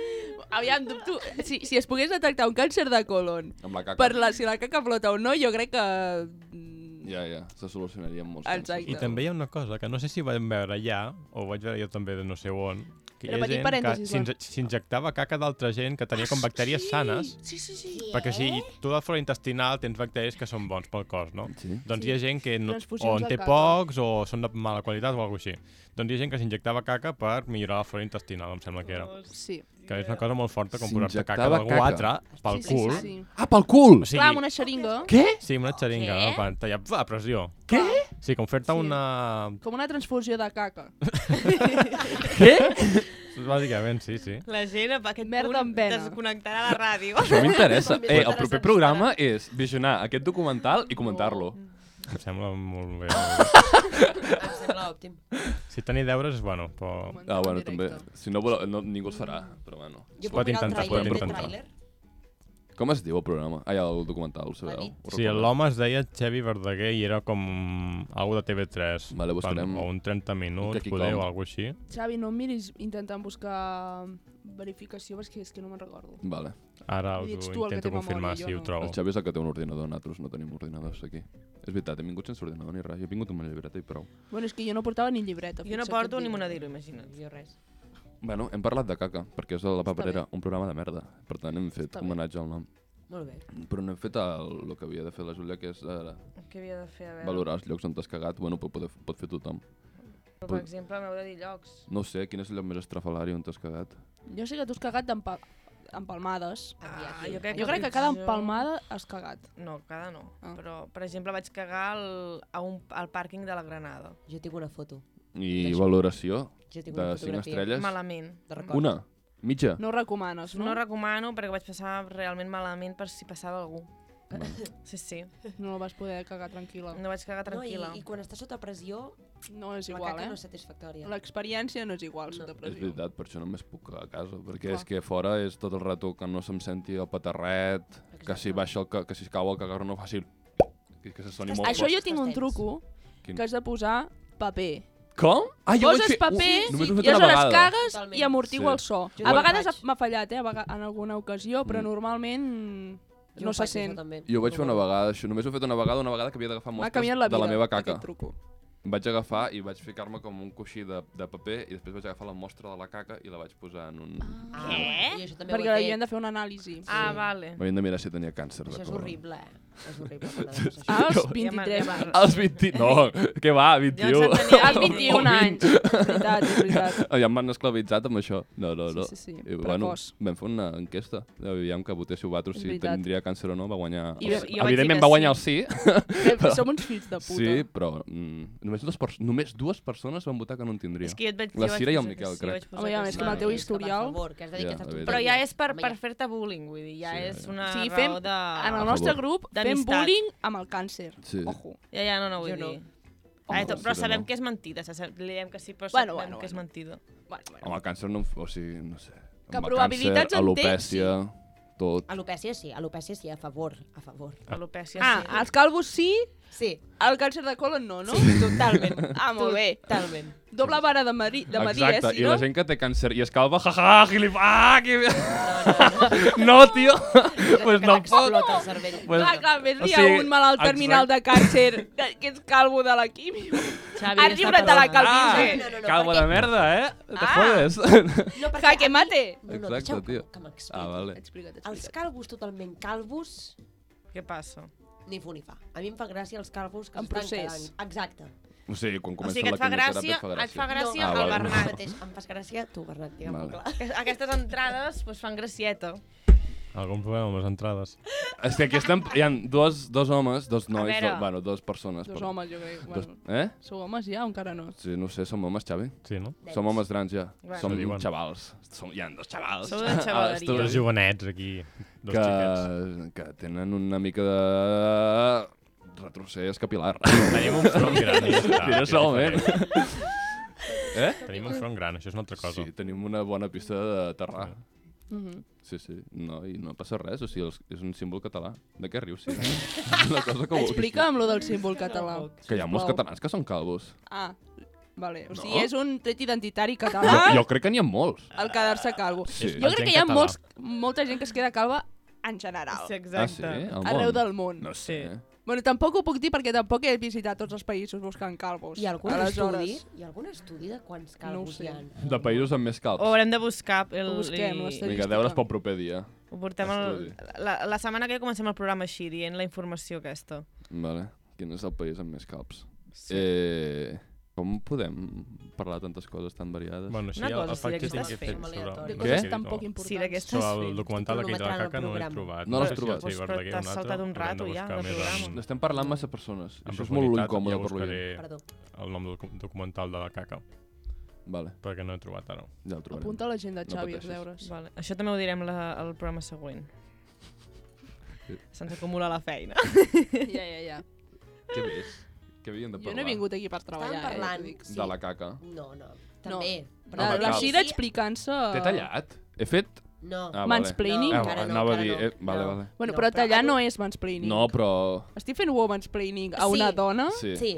Aviam, dubto. Si, si es pogués detectar un càncer de colon, Amb la caca. per la, si la caca flota o no, jo crec que... mm, Ja, ja. Se solucionaria amb molts Exacte. I No. també hi ha una cosa que no sé si ho vam veure allà, o ho vaig veure jo també de no sé on, que Però hi ha petit gent que parèntesis, Ah, s'inje- s'injectava caca d'altra gent que tenia com bactèries sanes, Sí, sí, sí. perquè si tu de flora intestinal tens bacteris que són bons pel cos, no? Sí. Doncs hi ha gent que no, o Transfusions en de té caca. pocs o són de mala qualitat o alguna cosa així. Doncs hi ha gent que s'injectava caca per millorar la flora intestinal, em sembla que era. Sí. Que és una cosa molt forta com posar-te caca S'injectava d'algú caca. altre pel sí, cul. Sí, sí, sí. Ah, pel cul! Clar, O amb sigui, una xeringa, Què? sí, amb una xeringa, Què? no? per tallar a pressió. Què? Sí, com fer-te Sí. una... com una transfusió de caca. Bàsicament, sí, sí. La gent a aquest Merda punt amb vena. desconnectarà la ràdio. Això m'interessa. Com Eh, el m'interessa proper estar. programa és visionar aquest documental i Oh, comentar-lo. Em sembla molt bé. Em sembla òptim. Si tenir deures, bueno, però... Comentar Ah, en bueno, també. directe. Si no, voleu, no ningú els farà, però bueno. Jo Pot puc mirar intentar, el pot tràiler, té intentar. tràiler? Com es diu el programa? Ah, ja, el documental, ho La sabeu? nit. Ho Sí, recomano. l'home es deia Xevi Verdaguer i era com algo de TV3. Vale, buscarem O un 30 un minuts, Keki poder, Com. o alguna així. Xavi, no em miris intentant buscar verificació, perquè és que no me'n recordo. Vale. Ara Ho us dius ho tu, el que intento té memòria, confirmar jo si ho no. El trobo. Xavi és el que té un ordinador, nosaltres no tenim ordinadors aquí. És veritat, hem vingut sense ordinador ni res, jo he vingut amb una llibreta i prou. Bueno, és que jo no portava ni llibreta. Jo no fixa't, porto et ni dic. monedero, imagina't. Jo res. Bueno, hem parlat de caca, perquè és de la paperera, un programa de merda. Per tant, hem fet Està bé. homenatge al nom. Molt bé. Però no hem fet el, el que havia de fer la Júlia, que és eh, Què havia de fer? A veure, valorar els llocs on t'has cagat. Bueno, pot, poder, pot fer tothom. per exemple, m'heu de dir llocs. No ho sé, quin és el lloc més estrafalari on t'has cagat? Jo sé que tu has cagat d'empa- empalmades. Ah, Aviam. jo crec Jo crec que cada pitjor- empalmada has cagat. No, cada no. Ah. Però, per exemple, vaig cagar al, a un, al pàrquing de la Granada. Jo tinc una foto. I Deixa- valoració Jo tinc de una 5 fotografia. estrelles? Malament. De record. Una? Mitja? No ho recomanes, No no? ho recomano perquè vaig passar realment malament per si passava algú. Bueno, Sí, sí. No vas poder cagar tranquil·la. No vaig cagar tranquil·la. No, i, I quan estàs sota pressió, No és la igual, caca eh? no és satisfactòria. L'experiència no és igual sota és pressió. veritat, per això només puc quedar a casa, perquè Clar. és que fora és tot el rato que no se'm senti el patarret, que si baixa el ca que si es cau el cagarro no faci el... que, que se soni molt Això fort. jo tinc un Estàs tens. truco Quin? que has de posar paper. Com? Ah, ho vaig Poses fer- paper Ui, només ho he fet i una aleshores vegada. cagues i Totalment. amortigua Sí. el so. Jo A ho vegades faig. m'ha fallat, eh? A vega- en alguna ocasió, però Mm. normalment Jo no ho se faig, això sent. també. Jo ho vaig fer una No, vegada, això només ho he fet una vegada, una vegada que havia d'agafar M'ha mostres canviat la vida, de la meva caca. aquest truco. Vaig agafar i vaig ficar-me com un coixí de, de paper i després vaig agafar la mostra de la caca i la vaig posar en un... Ah. Ah, Què? I això també Perquè ho hi he hem fet. de fer una anàlisi. Ah, vale. M'havien de mirar si tenia càncer de Això és colon. horrible, eh? És horrible. quan ha de passar això. Als Jo- Ja me'n- 23 ja anys. me'n- Als 20... No, què va, 21. Ja en tenia- Als 21 anys. És veritat, és veritat. Ja em van esclavitzat amb això. No, no, no. Sí, sí, sí. I, bueno, Precoç. vam fer una enquesta. Aviam que votéssiu vosaltres És si veritat. tindria càncer o no. Va guanyar... I el jo- sí. jo vaig Evidentment dir que va guanyar el sí. Som uns fills de puta. Sí, però mm, només, dues pers- només dues persones van votar que no en tindria. És que jo et vaig, La jo vaig Cira i el posar que Miquel, sí, crec. vaig posar Home, ja, que és sí. que amb el teu Vale, historial- Per favor, que has de dir Ja, que estàs evident. Però ja content. és per, Home, per ja. fer-te bullying, vull dir, ja Sí, és ja. una O sigui, raó fem- Ah, de... En el Ah, favor. nostre grup fem D'amistat. bullying amb el càncer. Sí. Ojo. Ja, ja, no, no, vull Jo no. dir. Ah, Home, tot, sí però que sabem no. que és mentida, sa- sa- li diem que sí, però Bueno, sabem bueno, que és bueno. mentida. Bueno, bueno. Amb el càncer no... em f- O sigui, no sé. Que Amb el probabilitats càncer, en tens, alopècia... tot. Alopècia sí, alopècia sí, a favor, a favor. Alopècia, Ah, sí. els calvos sí, Sí, el càncer de colon no, no? totalment. Ah, molt bé. Totalment. Doble vara de, mari, de medir, Exacte, eh, si i no? la gent que té càncer i es calva, jaja, gilip, ah, que... No, tio, pues no pot. Explota el cervell. Pues- Ah, Clar, clar, més o hi ha sigui, un malalt terminal de càncer de- que és calvo de la químio. Xavi, Has està llibret de la perdonat. Ah, calvície. no, no, no, calvo perquè- de merda, eh? Te Ah. jodes. No, perquè Jaque a mi- mate. No, no, Exacte, deixeu que- tio. Que m'expliqui. Ah, vale. Explica't, Els explica't. calvos totalment calvos, Què passa? ni fu ni fa. A mi em fa gràcia els calvos que En s'estan procés. quedant. Exacte. O sigui, quan O comença sigui, que la et fa quimioteràpia gràcia, et fa et fa gràcia. gràcia Ah, el vale. No, Bernat. mateix, em fas gràcia tu, Bernat, digue'm Vale. clar. Aqu- Aquestes entrades pues, fan gracieta. Algun problema amb les entrades. És que aquí estan, hi ha dos, dos homes, dos nois, veure. do, bueno, dos persones. Dos però- homes, jo crec. Dos, Bueno, eh? sou homes ja o encara no? Sí, no ho sé, som homes, Xavi. Sí, no? Nens. Som homes grans ja. Bueno. Som Ho diuen. xavals. Som, hi ha dos xavals. Sou de a xavaleria. l'estudi Dos jovenets aquí, dos que, xiquets. que tenen una mica de retrocés capilar. Tenim un front gran. i ja està, Mira, és solament. diferent. eh? Tenim un front gran, això és una altra cosa. Sí, tenim una bona pista de terrar. Mhm. Sí, sí. No, i no passa res. O sigui, els, és un símbol català. De què rius? Sí. una cosa que vulguis. Explica'm lo del símbol català. Que hi ha molts sisplau. catalans que són calvos. Ah, vale. O sigui, No? és un tret identitari Jo, català jo crec que n'hi ha molts. el quedar-se calvo. Sí. Jo La crec gent que hi ha català. molts, molta gent que es queda calva en general. Sí, Ah, sí? exacte. Al món? Arreu del món. No sé. eh? Sí. Bueno, tampoc ho puc dir perquè tampoc he visitat tots els països buscant calvos. Hi ha algun Aleshores, estudi? Hi ha algun estudi de quants calvos ho sé. hi ha? De països amb més calps. Ho haurem de buscar. El, Ho busquem, i- l'estadística. Vinga, deures pel proper dia. Ho portem el, Estudi. la, la setmana que comencem el programa així, dient la informació aquesta. Vale. Quin és el país amb més calps? Sí. Sí. Eh, com podem parlar tantes coses tan variades? Bueno, així Una el, cosa, el sí, fact d'aquestes checking que he fet fent. sobre... Aleatòries. De Què? coses tan poc importants. Sí, d'aquestes Sobre fent. el documental aquell de la Cronometrant el caca no l'he programa. trobat. No l'has sé si el trobat? Xavi Doncs, però Verdaguer t'has un altre, saltat un haurem de rato ja, buscar de més en- programa. Estem parlant massa persones. en Això és molt doncs, profunditat, incòmode ja per l'oient. buscaré Perdó. el nom del docu- documental de la caca, Vale, perquè no he trobat ara. ja ho trobarem. Apunta a l'agenda, No Xavi, els pateixis. deures. Vale. Això també ho direm la, al programa següent. Sí. Se'ns acumula la feina. Ja, ja, ja. Què més? Què havíem de parlar? Jo no he vingut aquí per treballar, Estàvem parlant... eh? Sí. De la caca. No, no. Ja També. No, t'ho dic. Home, la cal. Xira explicant-se... T'he tallat? He fet... No. Ah, Mansplaining? vale. No, encara no, anava a encara dir... no. Eh, vale, No. vale. Bueno, No, però però- tallar no és mansplaining. No, però... Estic fent womansplaining a una Sí. dona? Sí. Sí,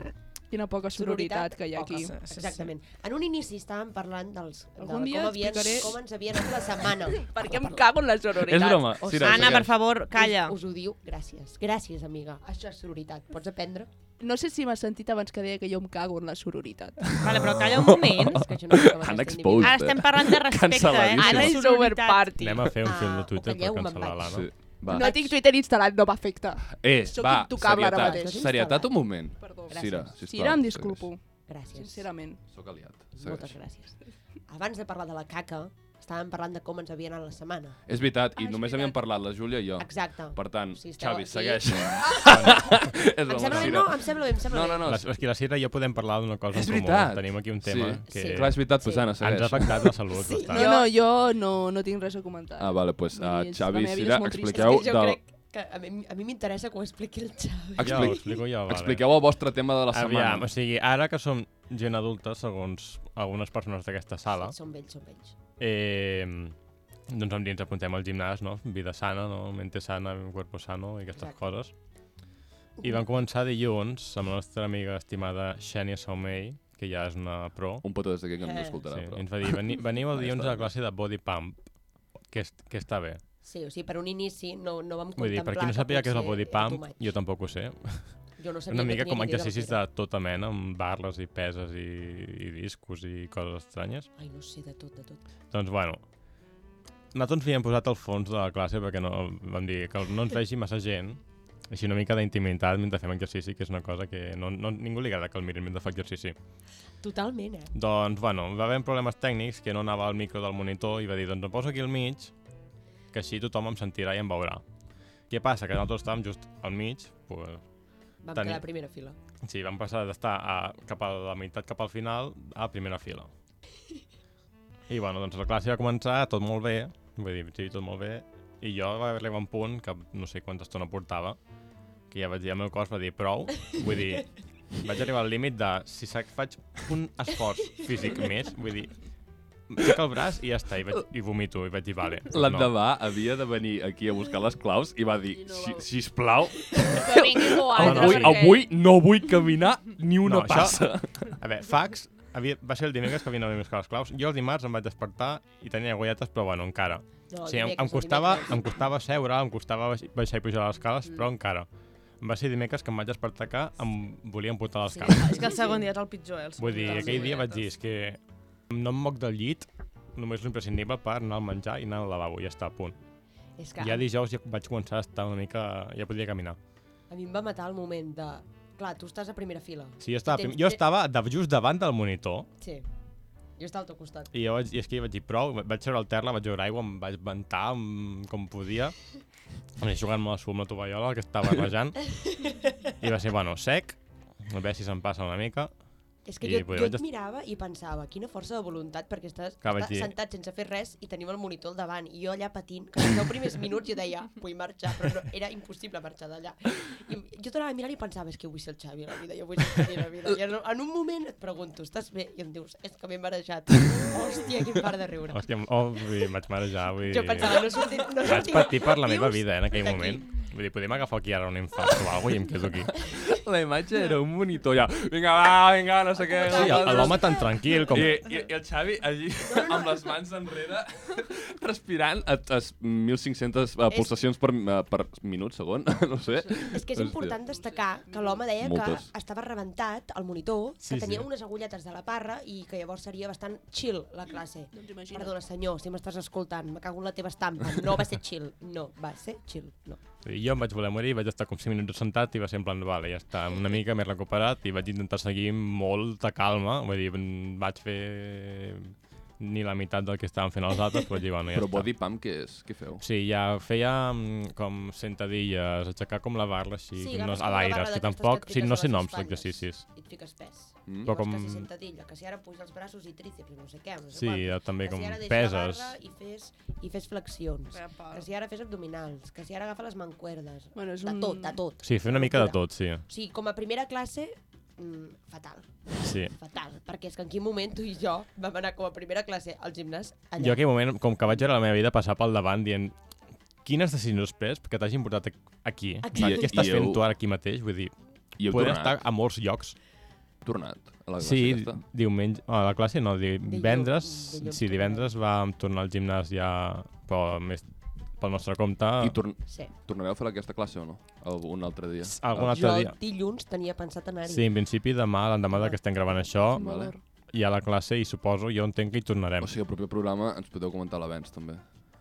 Quina poca sororitat sororitat que hi ha poca. aquí. Sí, sí, sí. exactament. En un inici estàvem parlant dels, de Algun dia com, havien, explicaré- com ens havien anat la setmana. Perquè em cago en la sororitat. És broma. O sigui, Sira, Anna, per segueix. favor, calla. Us, us ho diu, gràcies. Gràcies, amiga. Això és sororitat. Pots aprendre? No sé si m'has sentit abans que deia que jo em cago en la sororitat. Vale, però calla un moment. És que jo no sé com Han aquesta exposed. Ara estem parlant de respecte, eh? Canceladíssima. Ara Ara és és over sororitat. party. Anem a fer un Ah, fil de Twitter ho per talleu, me'n cancel·lar l'Anna. Sí. Va. No tinc Twitter instal·lat, no m'afecta. Eh, Sóc va, intocable ara serietat. mateix. Serietat un moment. Perdó. Gràcies. Sira, sisplau. Sira, em disculpo, individu. Gràcies. sincerament. Segueix. Sóc aliat. Moltes Segueix. gràcies. Abans de parlar de la caca, estàvem parlant de com ens havia anat la setmana. És veritat, Ah, i és només veritat. havíem parlat la Júlia i jo. Exacte. Per tant, Si esteu Xavi, aquí- segueix. És Em la sembla bé, Sira. no? Em sembla bé, em sembla No, bé. no, no. La, és que la Sira i jo podem parlar d'una cosa És en comú. veritat. Tenim aquí un tema Sí. que Sí. Clar, és veritat, pues Sí. Anna, ens ha segueix. afectat la salut sí. bastant. Jo no, jo no, no tinc res a comentar. Ah, vale, pues Vull a dir, és- la Xavi i meva vida Sira, és molt trista. expliqueu, És que jo del, crec que a mi a mi m'interessa que ho expliqui el Xavi. Ja expli- ho explico jo, vale. expliqueu el vostre tema de la Aviam, setmana. o sigui, ara que som gent adulta, segons algunes persones d'aquesta sala, Són vells, són vells. eh, doncs un dia ens apuntem al gimnàs, no? Vida sana, no? Mente sana, cuerpo sano i aquestes Exacte. coses. I vam començar dilluns amb la nostra amiga estimada Xènia Saumei, que ja és una pro, Un petó des d'aquí que no ens Eh. escoltarà, Sí, però... ens va dir, Veni, veniu el Ja dilluns està. a la classe de Body Pump, que, est, que està bé. Sí, o sigui, per un inici no, no vam Vull dir, contemplar per qui no sàpiga què és el potser Body era too Pump, much. jo tampoc ho sé. jo no És sabia una que mica tenia com ni idea del exercicis que de era. tota mena, amb barres i peses i, i discos i coses estranyes. Ai, no sé, de tot, de tot. Doncs, bueno, nosaltres ens havíem posat al fons de la classe perquè no, vam dir que no ens vegi massa gent, així una mica d'intimitat mentre fem exercici, que és una cosa que no, no, ningú li agrada que el mirin mentre fa exercici. Totalment, eh? Doncs, bueno, va haver problemes tècnics que no anava al micro del monitor i va dir, doncs em poso aquí al mig, que així tothom em sentirà i em veurà. Què passa? Que nosaltres estàvem just al mig, pues, Vam Tenia- quedar a primera fila. sí, vam passar d'estar a, cap a la meitat, cap al final, a primera fila. I, bueno, doncs la classe va començar, tot molt bé, vull dir, sí, tot molt bé, i jo va arribar un punt que no sé quanta estona portava, que ja vaig dir al meu cos, va dir, prou, vull dir, vaig arribar al límit de, si sac, faig un esforç físic més, vull dir, aixeca el braç i ja està, i, vaig, i vomito, i vaig dir, vale. doncs L'endemà havia de venir aquí a buscar les claus i va dir, I no si, va- sisplau, Que vingui Ara, avui, perquè- avui no vull caminar ni una No, això- passa. No. A veure, fax, havia, va ser el dimecres que havia anat a buscar les claus. Jo el dimarts em vaig despertar i tenia agulletes, però bueno, encara. No, O sigui, em, em, costava, em costava seure, em costava baix- baixar i pujar les escales, mm. però encara. Em va ser dimecres que em vaig despertar que em volia emportar les Sí. cames. És que el segon dia és el pitjor, eh? el segon Vull dir, de les aquell dia vaig ampolletes. dir, és que no em moc del llit, només l'imprescindible per anar al menjar i anar al lavabo, ja està, punt. És que Ja dijous ja vaig començar a estar una mica... ja podia caminar. a mi em va matar el moment de... Clar, tu estàs a primera fila. Sí, jo estava, Tens- prim- jo estava de, just davant del monitor Sí. Jo estava al teu costat. i, jo vaig, i és que jo vaig dir prou, va- vaig seure al terra, vaig veure aigua, em vaig ventar amb, com podia, em vaig jugar amb la suma tovallola que estava barrejant i va ser, bueno, sec, a veure si se'n passa una mica. És que I jo, poder jo vaig et est- mirava i pensava, quina força de voluntat, perquè estàs, Clar, vaig estàs dir- sentat sense fer res i tenim el monitor al davant. I jo allà patint, que els deu primers minuts jo deia, vull marxar, però no, era impossible marxar d'allà. I jo t'anava mirant i pensava, és que jo vull ser el Xavi a la vida, jo vull ser el Xavi a la vida. I en, en un moment et pregunto, estàs bé? I em dius, és que m'he marejat. Hòstia, quin par de riure. Hòstia, em- oh, vull dir, vaig marejar, vull dir... Jo pensava, no he sortit... No he Vaig sortit patir per la meva vius vida eh, en aquell d'aquí. moment. Vull dir, podem agafar aquí ara un infart o alguna cosa i em quedo aquí. La imatge era un monitor ja, vinga va, vinga, no sé què. Sí, el- l'home tan tranquil com... Eh, I, i, I el Xavi allí, amb les mans enrere, respirant a, a 1.500 uh, És- pulsacions per, uh, per minut, segon, no sé. És que és Hòstia. important destacar que l'home deia Moltes. que estava rebentat al monitor, Sí, que tenia sí. unes agulletes de la parra i que llavors seria bastant chill la classe. Doncs imagina't. Perdona, senyor, si m'estàs escoltant, me cago en la teva estampa. No va ser chill, no, va ser chill, no. I jo em vaig voler morir, vaig estar com 5 minuts sentat i va ser en plan, vale, ja està, una mica m'he recuperat i vaig intentar seguir amb molta calma, vull dir, mm, vaig fer ni la meitat del que estaven fent els altres, però vaig dir, bueno, ja Però està. body pump què és? Què feu? Sí, ja feia mm, com sentadilles, aixecar com la barra així, Sí, com no, agafes a com una l'aire, barra és que d'aquestes tampoc, que et sí, fiques no a sé les noms espatlles. d'exercicis. I et fiques pes. Mm. Però Però com- com... Que si sentadilla, que si ara puja els braços i tríceps, no sé què, no sé Sí, quantos, també que com si ara deixa la peses. barra I fes, I fes flexions. Que si ara fes abdominals, que si ara agafa les mancuerdes. Bueno, és De un- tot, de tot. Sí, fer una mica de tot, sí. O sigui, com a primera classe, mm, fatal. sí. fatal, perquè és que en quin moment tu i jo vam anar com a primera classe al gimnàs allà. Jo en aquell moment, com que vaig veure la meva vida passar pel davant dient quines decisions has pres que t'hagin portat ac- aquí? Aquí. Exacte. I- Què estàs i fent heu- tu ara aquí mateix? Vull dir, I heu poder tornat, estar a molts llocs. tornat a la classe Sí, aquesta? diumenge... A la classe no, divendres... dilluns Sí, divendres vam tornar al gimnàs ja però més pel nostre compte I tor Sí. tornareu a fer aquesta classe o no? Algun altre dia? algun Jo altre dia. dilluns tenia pensat anar-hi. Sí, en principi demà, l'endemà de que estem gravant això, Vale. hi ha la classe i suposo, jo entenc que hi tornarem. O sigui, el proper programa ens podeu comentar l'avenç, també,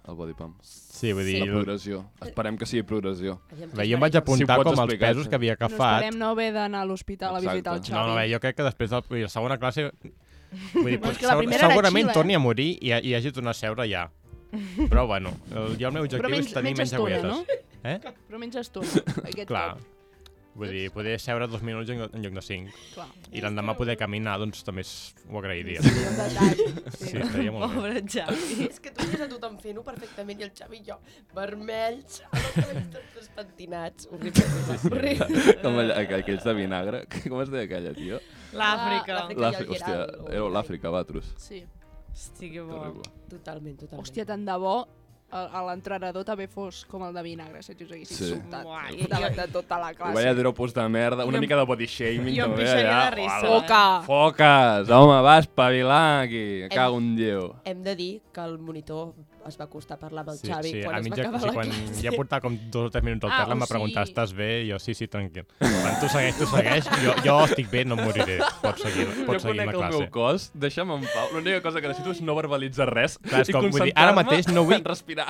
el body pump. Sí, vull dir... La progressió. Esperem que sigui progressió. Aviam què Bé, jo em vaig faré. apuntar pots com els explicar, pesos sí. que havia No agafat. esperem no haver d'anar a l'hospital a visitar el Exacte. Xavi. No, eh, no, bé, jo crec que després de la, vull dir, la segona classe... Vull dir, Bueno, és pot- que la segur- primera era segurament xila, eh? torni a morir i, ha- i hagi de tornar a seure ja. Però bueno, el, jo el meu objectiu menys- és tenir menys menys estona, agulletes. No? Eh? Però menys estona, aquest Clar. cop. Vull dir, poder seure dos minuts en, en lloc de cinc. Clar. I l'endemà poder caminar, doncs també es- ho agrairia. Seria un detall. Sí, estaria molt bé. Pobre Xavi. És que tu veies a tothom fent-ho perfectament i el Xavi i jo, vermells, amb els cabells tots despentinats, horrible. horrible. Com allà, aqu- aquells de vinagre. Com es deia aquella, tio? L'Àfrica. Ah, l'Àfrica. Aquella L'Àfrica, hòstia, Gerald, o- éreu l'Àfrica, vatros. Sí. Hosti, que bo. Terrible. Totalment, totalment. Hòstia, tant de bo a a l'entrenador també fos com el de vinagre, si us haguessis Sí. sí. insultat Uah, i- davant de tota la Ho classe. veia dropos de merda, una Ah. Jo em- mica de body shaming. jo em també, pixaria allà. de risa, Hola. eh? Foca! Foques, home, va, espavilar aquí, que cago en Déu. Hem de dir que el monitor es va costar parlar amb el Sí, Xavi sí, quan a es mi va ja, o acabar sigui, la quan classe. ja portava com dos o tres minuts al Ah, terra, o em va preguntar, sigui- estàs bé? I jo, sí, sí, tranquil. Quan tu segueix, tu segueix, jo, jo estic bé, no em moriré. Pots seguir, pots jo seguir conec la el classe. meu cos, deixa'm en pau. L'única cosa que necessito és no verbalitzar res Clar, és i com, vull dir, concentrar-me ara mateix no vull- en respirar.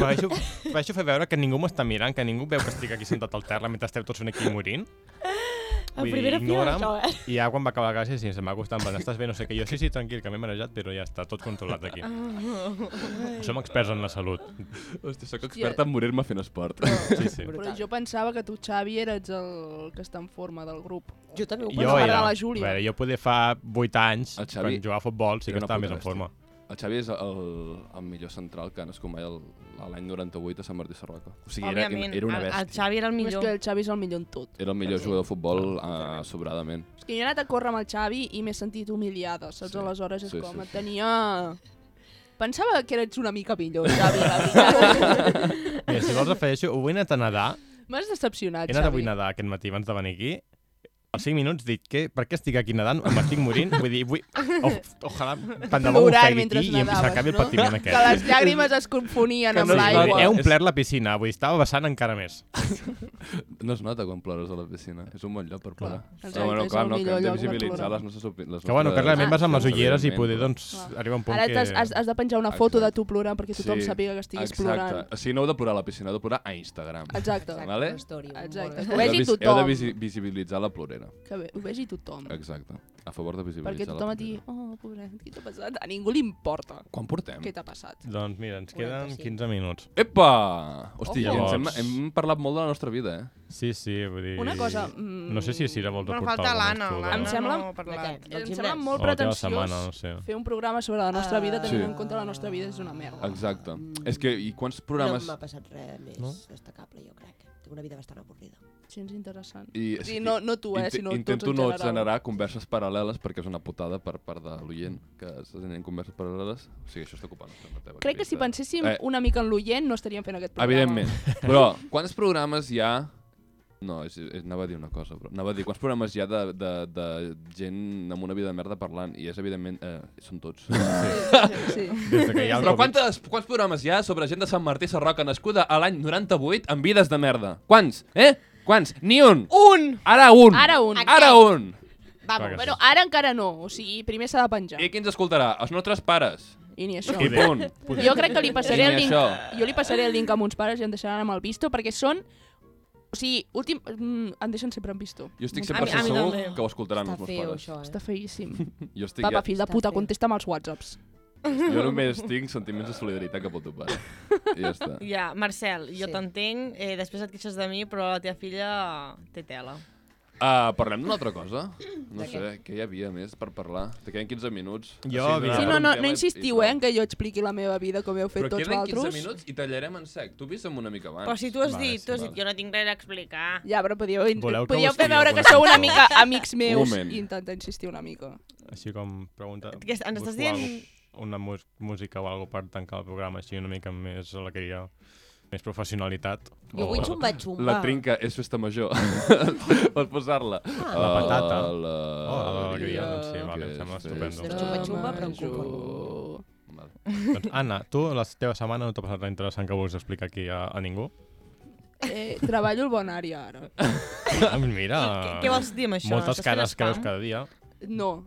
Baixo, baixo a fer veure que ningú m'està mirant, que ningú veu que estic aquí sentat al terra mentre esteu tots aquí morint. A primera fila, ignora'm. això, eh? I ja quan va acabar la classe, sí, se m'ha costat, en plan, estàs bé, no sé què. Jo, sí, sí, tranquil, que m'he marejat, però ja està, tot controlat aquí. Som experts en la salut. Hòstia, sóc expert en morir-me fent esport. Sí, sí. Però jo pensava que tu, Xavi, eres el que està en forma del grup. Jo també ho Jo parlar era, de la a Júlia. veure, jo poder fa 8 anys, El Xavi quan jugava a futbol, sí era que una estava puta més en bèstia. forma. El Xavi és el, el millor central que ha nascut mai el- l'any 98 a Sant Martí Sarroca. O sigui, era, Òbviament, era una el, el bèstia. Xavi era el Millor. És millor. que el Xavi és el millor en tot. Era el millor jugador de futbol eh, sobradament. És que jo he anat a córrer amb el Xavi i m'he sentit humiliada, saps? Sí. Aleshores és Sí, com, sí, et sí. tenia... Pensava que eres una mica millor, Xavi, la veritat. Mira, si vols afegeixo, avui he anat a nedar, M'has decepcionat, he anat avui Xavi. a nedar aquest matí abans de venir aquí, als 5 minuts dic, que, per què estic aquí nedant? Em estic morint? Vull dir, vull... Oh, ojalà, tant de bo Plorant m'ofegui mentre aquí i em- nedaves, s'acabi el no? patiment Que aquest. les llàgrimes es confonien Que amb no es No, nota. l'aigua. he És- omplert la piscina, vull dir, estava vessant encara més. No es nota quan plores a la piscina. És un bon lloc per plorar. Però, Exacte, és el millor que hem de lloc per visibilitzar plorar. les nostres opi- les Que bueno, que nostres- Ah, realment vas amb les Sí, ulleres i evidentment, poder, però- doncs, Clar. arriba un punt Ah. Ara que... t'has- has, has de penjar una foto Exacte. de tu plorant perquè tothom sàpiga que estigues exacte. plorant. O sigui, no heu de plorar a la piscina, heu de plorar a Instagram. Exacte. Exacte. Vale? Story, Exacte. Ho molt Heu de bé. vegi vis- Heu de tothom. visi visibilitzar la plorera. Que bé, ho vegi tothom. Exacte. A favor de visibilitzar Perquè tothom la et digui, plorera. oh, pobret, què t'ha passat? A ningú li importa Quan portem? què t'ha passat. Doncs mira, ens queden 45. 15 minuts. Epa! Hòstia, Ojo. ens hem, hem parlat molt de la nostra vida, eh? Sí, sí, vull dir... Una cosa, mm, No sé si Sira vols Bueno, aportar falta l'Anna. alguna cosa. L'Anna Em sembla- No ha parlat. Doncs Em sembla Gimnàs. O molt la teva pretensiós setmana, no sé. fer un programa sobre la nostra Ah. vida tenint Sí. en compte la nostra vida és una merda. Exacte. Mm. És que, i quants No programes... m'ha passat res més No? destacable, jo crec. Tinc una vida bastant avorrida. Gens interessant. I, O sigui, no, no tu, eh, Inte- sinó intento tots en no general. generar converses paral·leles perquè és una putada per part de l'oient que estàs tenint converses paral·leles. O sigui, això està ocupant la teva Crec que si llista. penséssim Eh. una mica en l'oient no estaríem fent aquest programa. Evidentment. Però, quants programes hi ha... No, és, és, anava a dir una cosa, però anava a dir quants programes hi ha de, de, de gent amb una vida de merda parlant, i és evidentment... Eh, són tots. Sí. Des de que hi ha el Però Covid. quantes, quants programes hi ha sobre gent de Sant Martí Sarroca nascuda a l'any 98 amb vides de merda? Quants? Eh? Quants? Ni un! Un! Ara un! Oh! Ara un. Ara un! Clar que Vamos, Bueno, ara encara no, o sigui, primer s'ha de penjar. I qui ens escoltarà? Els nostres pares. I ni això. I punt. Jo crec que li passaré I el ni link. això. Jo li passaré el link a mons pares i em deixaran amb el visto perquè són... O sigui, últim... Mm, em deixen sempre amb visto. Jo estic Mons sempre 100% pares. A mi- a mi segur també. que ho escoltaran està els meus feo, pares. això, eh? Està feíssim. Jo, estic, Papa, fill de Està puta, feo. contesta amb els whatsapps. ja, jo només tinc sentiments de solidaritat cap al teu pare. I ja està. Ja, Marcel, jo Sí. t'entenc, eh, després et queixes de mi, però la teva filla té tela. Uh, parlem d'una altra cosa? No De sé, què? hi havia més per parlar? Te queden 15 minuts. Jo havia- donar Sí, Sí, no, un no, tema no i- i insistiu, eh, tal. en que jo expliqui la meva vida com heu fet Però tots queden 15 vosaltres. minuts i tallarem en sec. Tu vist amb una mica abans. Però si tu has Ah, Vale, dit, sí, tu has vale. dit, jo no tinc res a explicar. Ja, però podíeu, in- Voleu que podíeu us fer digui veure que alguna sou una cosa? mica amics meus moment. i intentar insistir una mica. Així com pregunta... Què és- ens estàs busco dient- algo- Una mus- música o alguna per tancar el programa així una mica més a la que hi ha més professionalitat. Jo vull xumba-xumba. La trinca és festa major. Pots posar-la. Ah, La patata. A la... Oh, la alegria, alegria, doncs sí, vale, em que sembla és estupendo. festa Xumba-xumba, però amb major. cuco. Vale. Doncs, Anna, tu la teva setmana no t'ha passat res interessant que vols explicar aquí a, a ningú? Eh, treballo al bon àrea ara. Ah, Mira, Què, què vols dir amb això? Estàs moltes fent cares que veus spam? cada dia. No.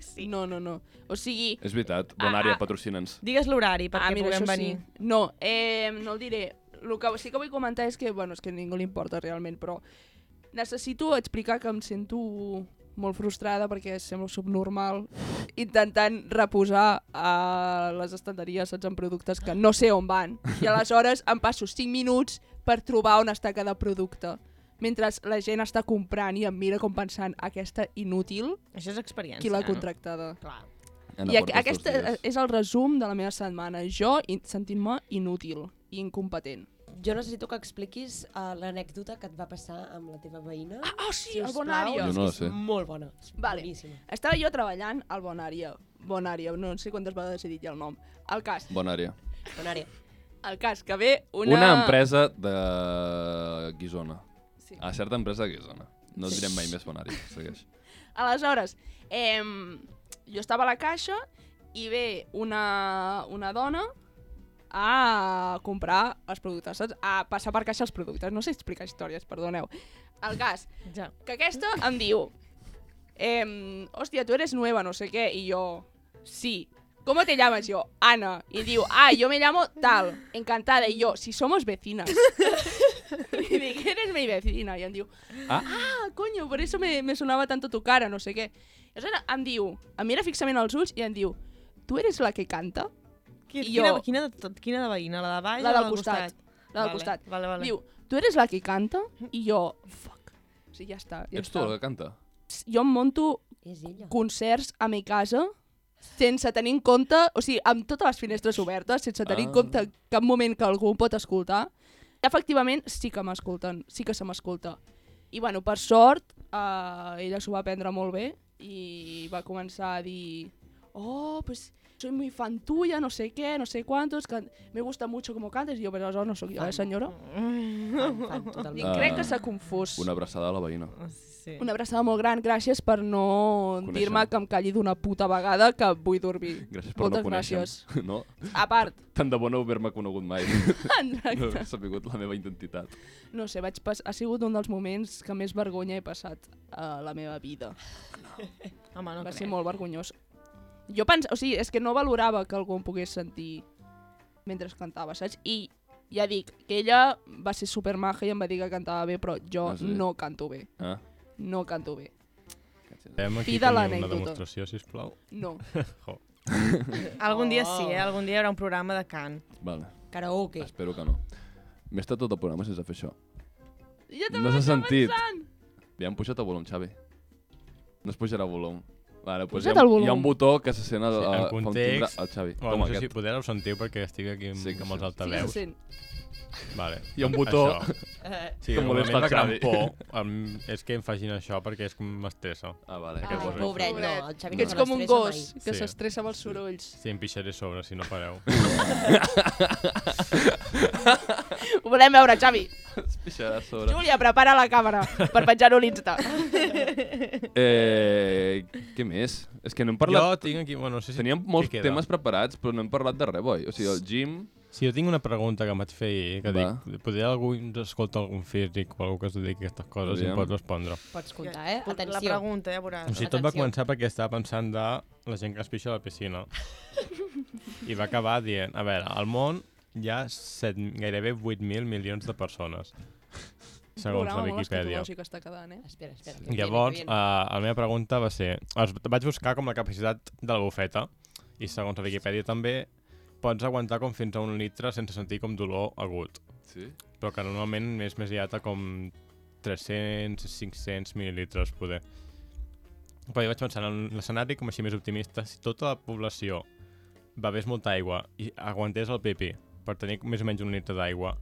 Sí. No, no, no. O sigui, És veritat, Ah, Bonària, ah. patrocina'ns. Digues l'horari perquè puguem això venir. Sí. No, eh, no el diré. El que sí que vull comentar és que, bueno, és que a ningú li importa realment, però necessito explicar que em sento molt frustrada perquè semblo subnormal intentant reposar a les estanteries saps, en productes que no sé on van i aleshores em passo 5 minuts per trobar on està cada producte mentre la gent està comprant i em mira com pensant aquesta inútil, Això és experiència. eh? qui l'ha no? contractada? Clar. Anna, I aqu portes dos aquest dies. és el resum de la meva setmana. Jo in- sentint-me inútil i incompetent. Jo necessito que expliquis uh, l'anècdota que et va passar amb la teva veïna. Ah, oh, sí, el Jo no la sé. És molt bona. És Vale. boníssima. Estava jo treballant al Bonària. Bonària, no sé quantes vegades he dit ja el nom. El cas, Bonària. Bonària. el cas que ve una... Una... empresa de Guisona. Sí. A certa empresa de Guisona. No et direm mai més Bonària, segueix. Aleshores, eh, jo estava a la caixa i ve una, una dona a comprar els productes, saps? A passar per caixa els productes. No sé explicar històries, perdoneu. El cas, Ja. que aquesta em diu ehm, hòstia, tu eres nueva, no sé què, i jo, sí. ¿Cómo te llamas? Yo, Ana. Y digo, ah, yo me llamo tal, encantada. Y yo, si somos vecinas. y dije, eres mi vecina. Y em diu, Ah. ah, coño, por eso me, me sonaba tanto tu cara, no sé què. I aleshores em diu, em mira fixament als ulls i em diu, tu eres la que canta? Qui, I quina, jo- quina, de, tot- quina de veïna? La de baix La o del costat. La del Vale, costat. Vale, vale. Diu, tu eres la que canta? I jo, fuck. O sigui, ja està. Ja Ets tu està. la que canta? Jo em monto És ella. concerts a mi casa sense tenir en compte, o sigui, amb totes les finestres obertes, sense tenir en Ah. compte cap moment que algú em pot escoltar. Efectivament, sí que m'escolten, sí que se m'escolta. I, bueno, per sort, eh, ella s'ho va prendre molt bé i va començar a dir oh, pues, soy muy fan tuya, no sé qué, no sé cuántos, can- me gusta mucho como cantes, i jo, però aleshores no sóc jo, eh, senyora? Fan, fan, I Ah. totalment. crec que s'ha confós. Una abraçada a la veïna. Oh, Sí. Una abraçada molt gran, gràcies per no Coneixem. dir-me que em calli d'una puta vegada que vull dormir. Gràcies per Moltes no conèixer. gràcies. No? A part, Tant de bo no haver-me conegut mai. No Exacte. haver sabut la meva identitat. no sé, vaig pas... ha sigut un dels moments que més vergonya he passat a la meva vida. Home, no Va crec. ser molt vergonyós. Jo pens... O sigui, és que no valorava que algú em pogués sentir mentre cantava, saps? I ja dic, que ella va ser supermaja i em va dir que cantava bé, però jo Ah, sí? no canto bé. Ah. No canto bé. Fem aquí Fi de tenir una l'anècdota. demostració, sisplau. No. Jo. Algun dia Oh. sí, eh? Algun dia hi haurà un programa de cant. Vale, Karaoke. espero que no. M'he estat tot el programa sense fer això. Ja No s'ha sentit. Li han pujat el volum, Xavi. No es pujarà el volum. Vale, doncs hi, Puja't ha, el volum. hi ha un botó que se sent a, Sí, en a, fa un timbre context- al Xavi. Bueno, Toma, no sé si aquest. poder ho sentiu perquè estic aquí amb, Sí que amb els sí. altaveus. Sí, que se sent. Vale. Hi ha un botó. Això. Ah. Eh, Sí, Que normalment molesta la gran el por em, és que em facin això perquè és com m'estressa. Ah, vale. que Ai, vos- pobret, no, el Que Xavi no ets se com un l'estressa gos que Sí. s'estressa amb els sorolls. Si em pixaré a sobre, si no pareu. Ho volem veure, Xavi. Es pixarà a sobre. Júlia, prepara la càmera per penjar-ho a l'Insta. Eh, què més? És que no hem parlat... Jo tinc aquí... Bueno, no sé si Teníem què molts queda. temes preparats, però no hem parlat de res, boi. O sigui, el gym... Sí, jo tinc una pregunta que em vaig fer ahir, que Va. dic, potser algú ens escolta algun físic o algú que es dediqui a aquestes coses i Aviam. em pot respondre. Pots comptar, eh? La Atenció. pregunta, ja veuràs. O sigui, tot va Atenció. començar perquè estava pensant de la gent que es pixa a la piscina. I va acabar dient, a veure, al món hi ha 7, gairebé 8.000 milions de persones, segons la Viquipèdia. que està quedant, eh? Espera, espera. que viene, Llavors, que eh, viene. la meva pregunta va ser... Els vaig buscar com la capacitat de la bufeta, i segons la Viquipèdia també, pots aguantar com fins a un litre sense sentir com dolor agut, Sí? però que normalment és més diata com 300, 500 mil·lilitres, poder. Però jo vaig pensar en l'escenari com així més optimista, si tota la població bevés molta aigua i aguantés el pipi per tenir més o menys un litre d'aigua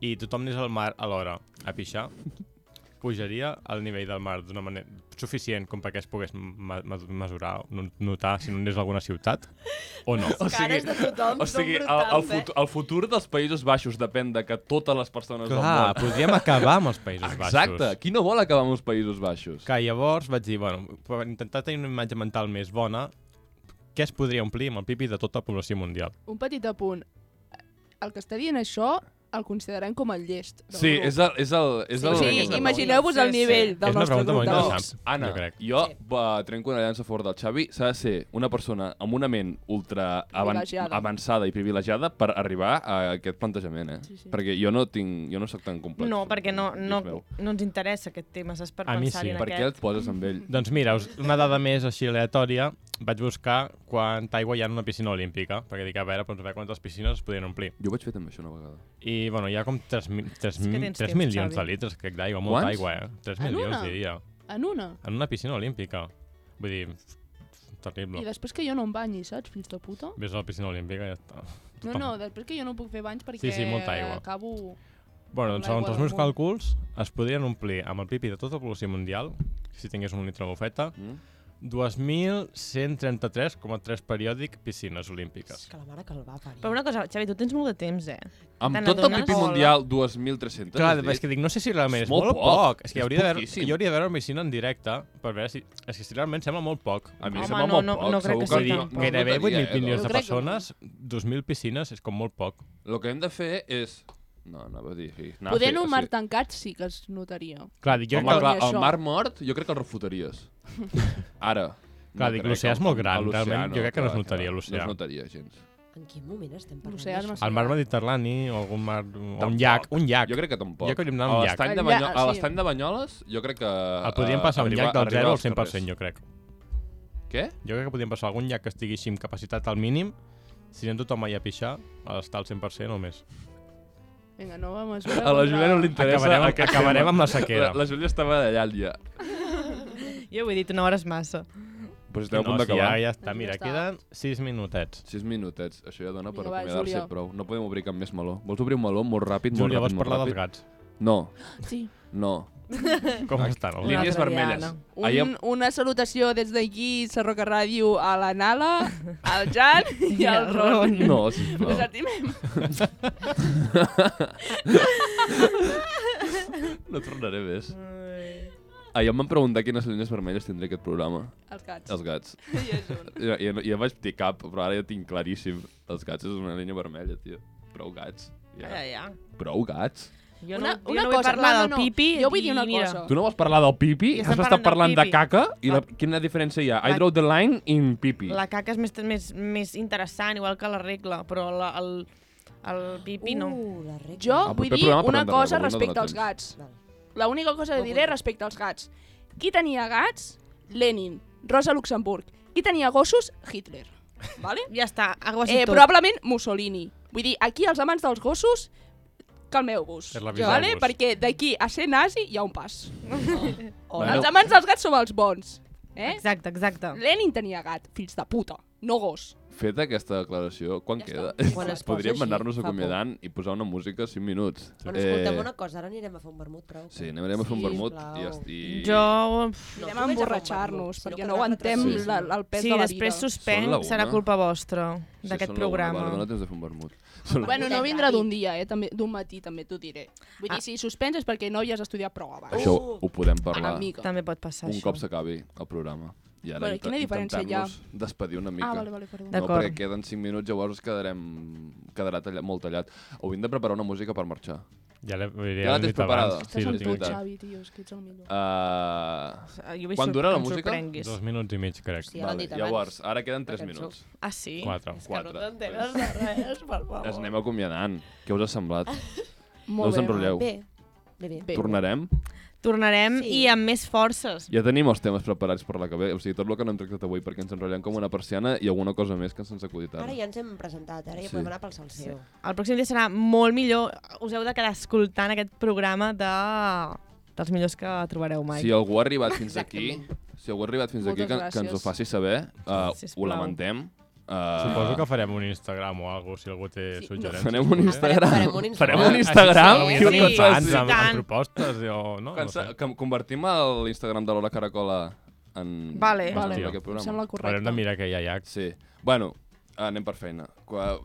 i tothom anés al mar a l'hora a pixar, pujaria el nivell del mar d'una manera suficient com perquè es pogués ma- ma- mesurar, no- notar si no anés a alguna ciutat o no. O sigui, Cares de tothom o sigui són el, el, eh? brutals, futur, el futur dels Països Baixos depèn de que totes les persones Clar, del món... podríem acabar amb els Països Baixos. Exacte, qui no vol acabar amb els Països Baixos? Que llavors vaig dir, bueno, per intentar tenir una imatge mental més bona, què es podria omplir amb el pipi de tota la població mundial? Un petit apunt. El que està dient això el considerem com el llest. Del Sí, grup. és el... És el, és O el sigui, és el- imagineu-vos Sí, el sí. nivell del És una nostre pregunta grup molt d'amics. interessant, Anna, jo crec. jo Sí. va, trenco una llança fort del Xavi. S'ha de ser una persona amb una ment ultra avan Privilegiada. avançada i privilegiada per arribar a aquest plantejament, eh? Sí, sí. Perquè jo no, tinc, jo no soc tan complex. No, perquè no, Dios no, meu. no ens interessa aquest tema, saps? Per A mi pensar-hi sí. en Per què aquest. et poses amb ell? Doncs mira, us- una dada més així aleatòria, vaig buscar quanta aigua hi ha en una piscina olímpica, perquè dic, a veure, doncs, a veure quantes piscines es podien omplir. Jo vaig fer també això una vegada. I, bueno, hi ha com 3, 3, És que 3, tens 3 temps, milions de Xavi. litres, crec, d'aigua, molta Quants? aigua, eh? 3 En milions, una? diria. En una. En una piscina olímpica. Vull dir, I terrible. després que jo no em banyi, saps, fills de puta? Ves a la piscina olímpica i ja està. No, no, després que jo no puc fer banys perquè sí, molta aigua. acabo... Bueno, Amb doncs segons l'aigua els del meus món. càlculs, es podrien omplir amb el pipi de tota la població mundial, si tingués un litre de bufeta, Mm? 2.133,3 periòdic piscines olímpiques. És que la mare que el va parir. Però una cosa, Xavi, tu tens molt de temps, eh? Amb Te tot el n'adones? pipí mundial, 2.300. Clar, has dit? és que dic, no sé si realment És és, molt molt, poc. poc. És que És hauria de veure, poquíssim. jo hauria de veure una piscina en directe per veure si... És que si realment sembla molt poc. A mi Home, em sembla no, molt no- poc. no crec segur que que sigui no- tan poc. no Gairebé notaria, 8.000 eh, milions doncs. Jo de crec que no. persones, 2.000 piscines, és com molt poc. El que hem de fer és... No, anava a dir... Sí. Anava a Poder fer- en un mar sí. tancat sí que es notaria. Clar, dic, jo Home, crec que... clar, Això. el mar mort, jo crec que el refutaries. Ara. Clar, dic, crec, l'oceà és el- molt gran, l'oceà realment, jo crec que no es notaria, l'oceà. No es notaria gens. En quin moment estem parlant L'oceà és d'això? El mar Mediterrani o algun mar... O un Tampoc. llac, un llac. Jo crec que tampoc. Jo crec Ah, que hauríem a d'anar amb llac. l'estany de, Allà, Banyo a sí. l'estany de Banyoles, jo crec que... eh, El podríem passar un llac del 0 al 100%, jo crec. Què? Jo crec que podríem passar algun llac que estigui així amb capacitat al mínim, si anem tothom allà a pixar, a estar al 100% o més. Vinga, no vam esverar A la Júlia no li interessa... Acabarem, aquest acabarem tema. amb la sequera. La, la Júlia estava d'allà al dia. Jo ho he dit, una hora és massa. Pues esteu a No, punt si d'acabar. Ja, ja està, Doncs ja mira, està. queden 6 minutets. 6 minutets, això ja dona per Vinga, va, acomiadar-se Júlia. prou. No podem obrir cap més meló. Vols obrir un meló molt ràpid, molt Júlia, ràpid, vols molt parlar ràpid? dels gats? No, Sí. no. Com estan? els Línies Un altre dia, vermelles. Anna. Un, Ahir, Una salutació des d'aquí, Sarroca Ràdio, a la Nala, al Jan i al Ron. em- no, sisplau. Us estimem. No tornaré més. Ai. Ahir em van preguntar quines línies vermelles tindria aquest programa. Els gats. Els gats. I és un. Ja, ja, no- ja vaig dir cap, però ara ja tinc claríssim. Els gats és una línia vermella, tio. Prou gats. Ja, Ja. ja. Prou gats. Jo Una- no, jo una no vull cosa, parlar no, del no, no. pipi Jo vull dir una i mira. cosa. Tu no vols parlar del pipi? I Ja estem Has estat parlant parlant de del caca i la, La- quina diferència hi ha? I la- draw the line in pipi. La caca és més, més, més interessant, igual que la regla, però la, el, el pipi no. Uh, la regla. Jo Ah, vull proper dir programa una parlem de cosa regla, no respecte dona als gats. Val. L'única cosa que No diré vull. respecte als gats. Qui tenia gats? Lenin. Rosa Luxemburg. Qui tenia gossos? Hitler. Vale? Ja està, aguas i Eh, tot. probablement Mussolini. Vull dir, aquí els amants dels gossos, calmeu-vos. És la vida Vale? del gos. Perquè d'aquí a ser nazi hi ha un pas. Oh, Bueno. Els amants dels gats som els bons. Eh? Exacte, exacte. Lenin tenia gat, fills de puta, no gos. Feta aquesta declaració, quan Ja queda? està. Quan es posa Podríem així, anar-nos fa por. acomiadant i posar una música 5 minuts. Bueno, escolta'm una cosa, ara anirem a fer un vermut, prou. Eh, Sí, anirem a fer un Sí, vermut sisplau. i ja esti... Jo... pf, Anem a tu vés a fer un emborratxar-nos, vermut, si no perquè no quedarà aguantem retratat. Sí. la, el pes Sí, de la després vida. Són la suspenc, una. serà culpa vostra Sí, d'aquest són la una, programa. Vale, dona temps de fer un vermut. Són la Bueno, una. no Ràpid. vindrà d'un dia, eh? també d'un matí també t'ho diré. Vull dir, Ah. si suspens és perquè no hi has estudiat prou abans. Això uh, ho, ho podem parlar Amiga. També pot passar un això. cop s'acabi el programa. I ara Bueno, bueno, quina diferència hi ha? intentar-nos despedir una mica. Ah, vale, vale, perdó. No, De- D'acord. perquè queden 5 minuts, llavors quedarem... quedarà tallat, molt tallat. Hauríem de preparar una música per marxar. Ja l'he ja Ja la tens l'he dit abans. preparada? Estàs Sí, la amb tinc tu, veritat. aquí. Xavi, tio, és que ets el millor. Uh, Ah, jo vull Quan sor- dura la que em música? sorprenguis. Dos minuts i mig, crec. Hòstia. Ja l'han vale. dit abans. Llavors, ara queden 3 La cançó. minuts. Ah, sí? Quatre. És que no Quatre. t'entenes de res, per favor. Ens anem acomiadant. Què us ha semblat? no Ah, Molt us bé. enrotlleu. Bé, bé, bé. Bé. Tornarem? Tornarem Sí. i amb més forces. Ja tenim els temes preparats per la que ve. O sigui, tot el que no hem tractat avui, perquè ens enrotllem com una persiana i alguna cosa més que ens ens acudit Ara ara. ja ens hem presentat, ara ja Sí. Eh? podem anar pel salseu. El pròxim dia serà molt millor. Us heu de quedar escoltant aquest programa de... dels millors que trobareu mai. Si algú ha arribat fins aquí, Exactament. si algú ha arribat fins aquí, Moltes que, que ens ho gràcies. faci saber, uh, ho Sisplau. lamentem. Uh, Suposo que farem un Instagram o alguna si algú té Sí, suggerències. Farem un Instagram. Farem un Instagram. Farem un Instagram. Sí, Així, sí, sí, sí, sí, amb, tant. amb propostes o... No, no Quan sé. se- que convertim l'Instagram de l'Hora Caracola en... Vale. en Vale. aquest Em programa. sembla correcte. Haurem de mirar que hi ha llacs. Sí. Bueno, ah, anem per feina. Qua...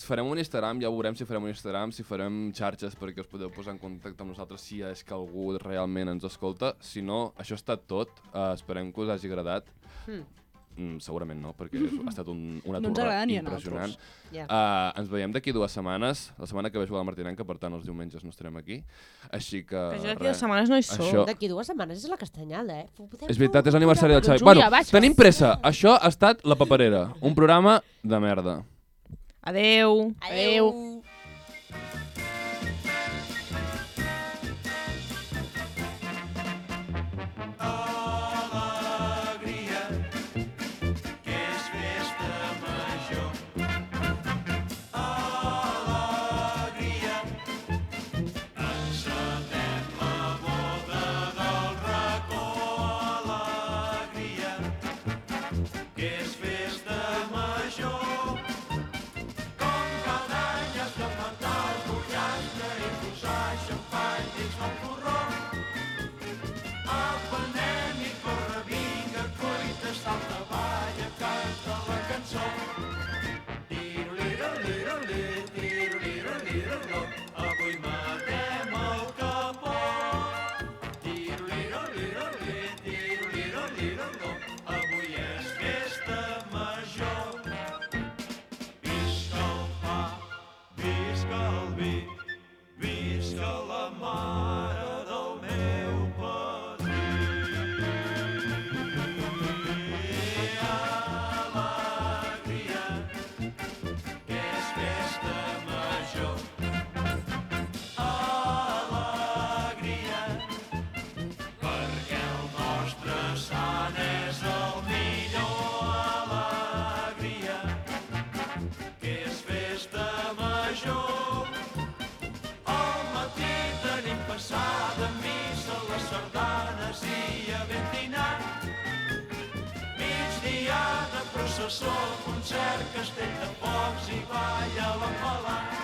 Farem un Instagram, ja veurem si farem un Instagram, si farem xarxes perquè us podeu posar en contacte amb nosaltres si és que algú realment ens escolta. Si no, això ha estat tot. Uh, esperem que us hagi agradat. Mm. Mm, segurament no, perquè ha estat un, una No ens torre agrada ni a impressionant. Ja. Uh, ens veiem d'aquí dues setmanes. La setmana que ve jugar a la Martinenca, per tant, els diumenges no estarem aquí. Així que... Que jo d'aquí res. dues setmanes no hi soc. Això- D'aquí dues setmanes és la castanyada, eh? Ho podem És fer veritat, un és l'aniversari del Xavi. Júlia, Bueno, vaig, tenim pressa. Això ha estat La Paperera, un programa de merda. Adeu. Adeu. alegria, que és festa major. Alegria, encetem la boda del racó. Alegria, que és festa major. Com cada any has de plantar el pollastre i posar xampany dins el porró. Apa, nen, i corre, vinga, cuita, salta, balla, canta la cançó. Tiro-liro-liro-li, tiro-liro-liro-lo, avui matem el capó. Tiro-liro-liro-li, tiro-liro-liro-lo, avui és festa major. Visca el pa, visca el vi, visca la mare del meu patró. alegria, que és festa major. Alegria, perquè el nostre sant és el millor. Alegria, que és festa major. Al matí tenim passada missa, les sardanes i havent dinat migdiada, processó, concert, castell de focs i balla l'enfalat.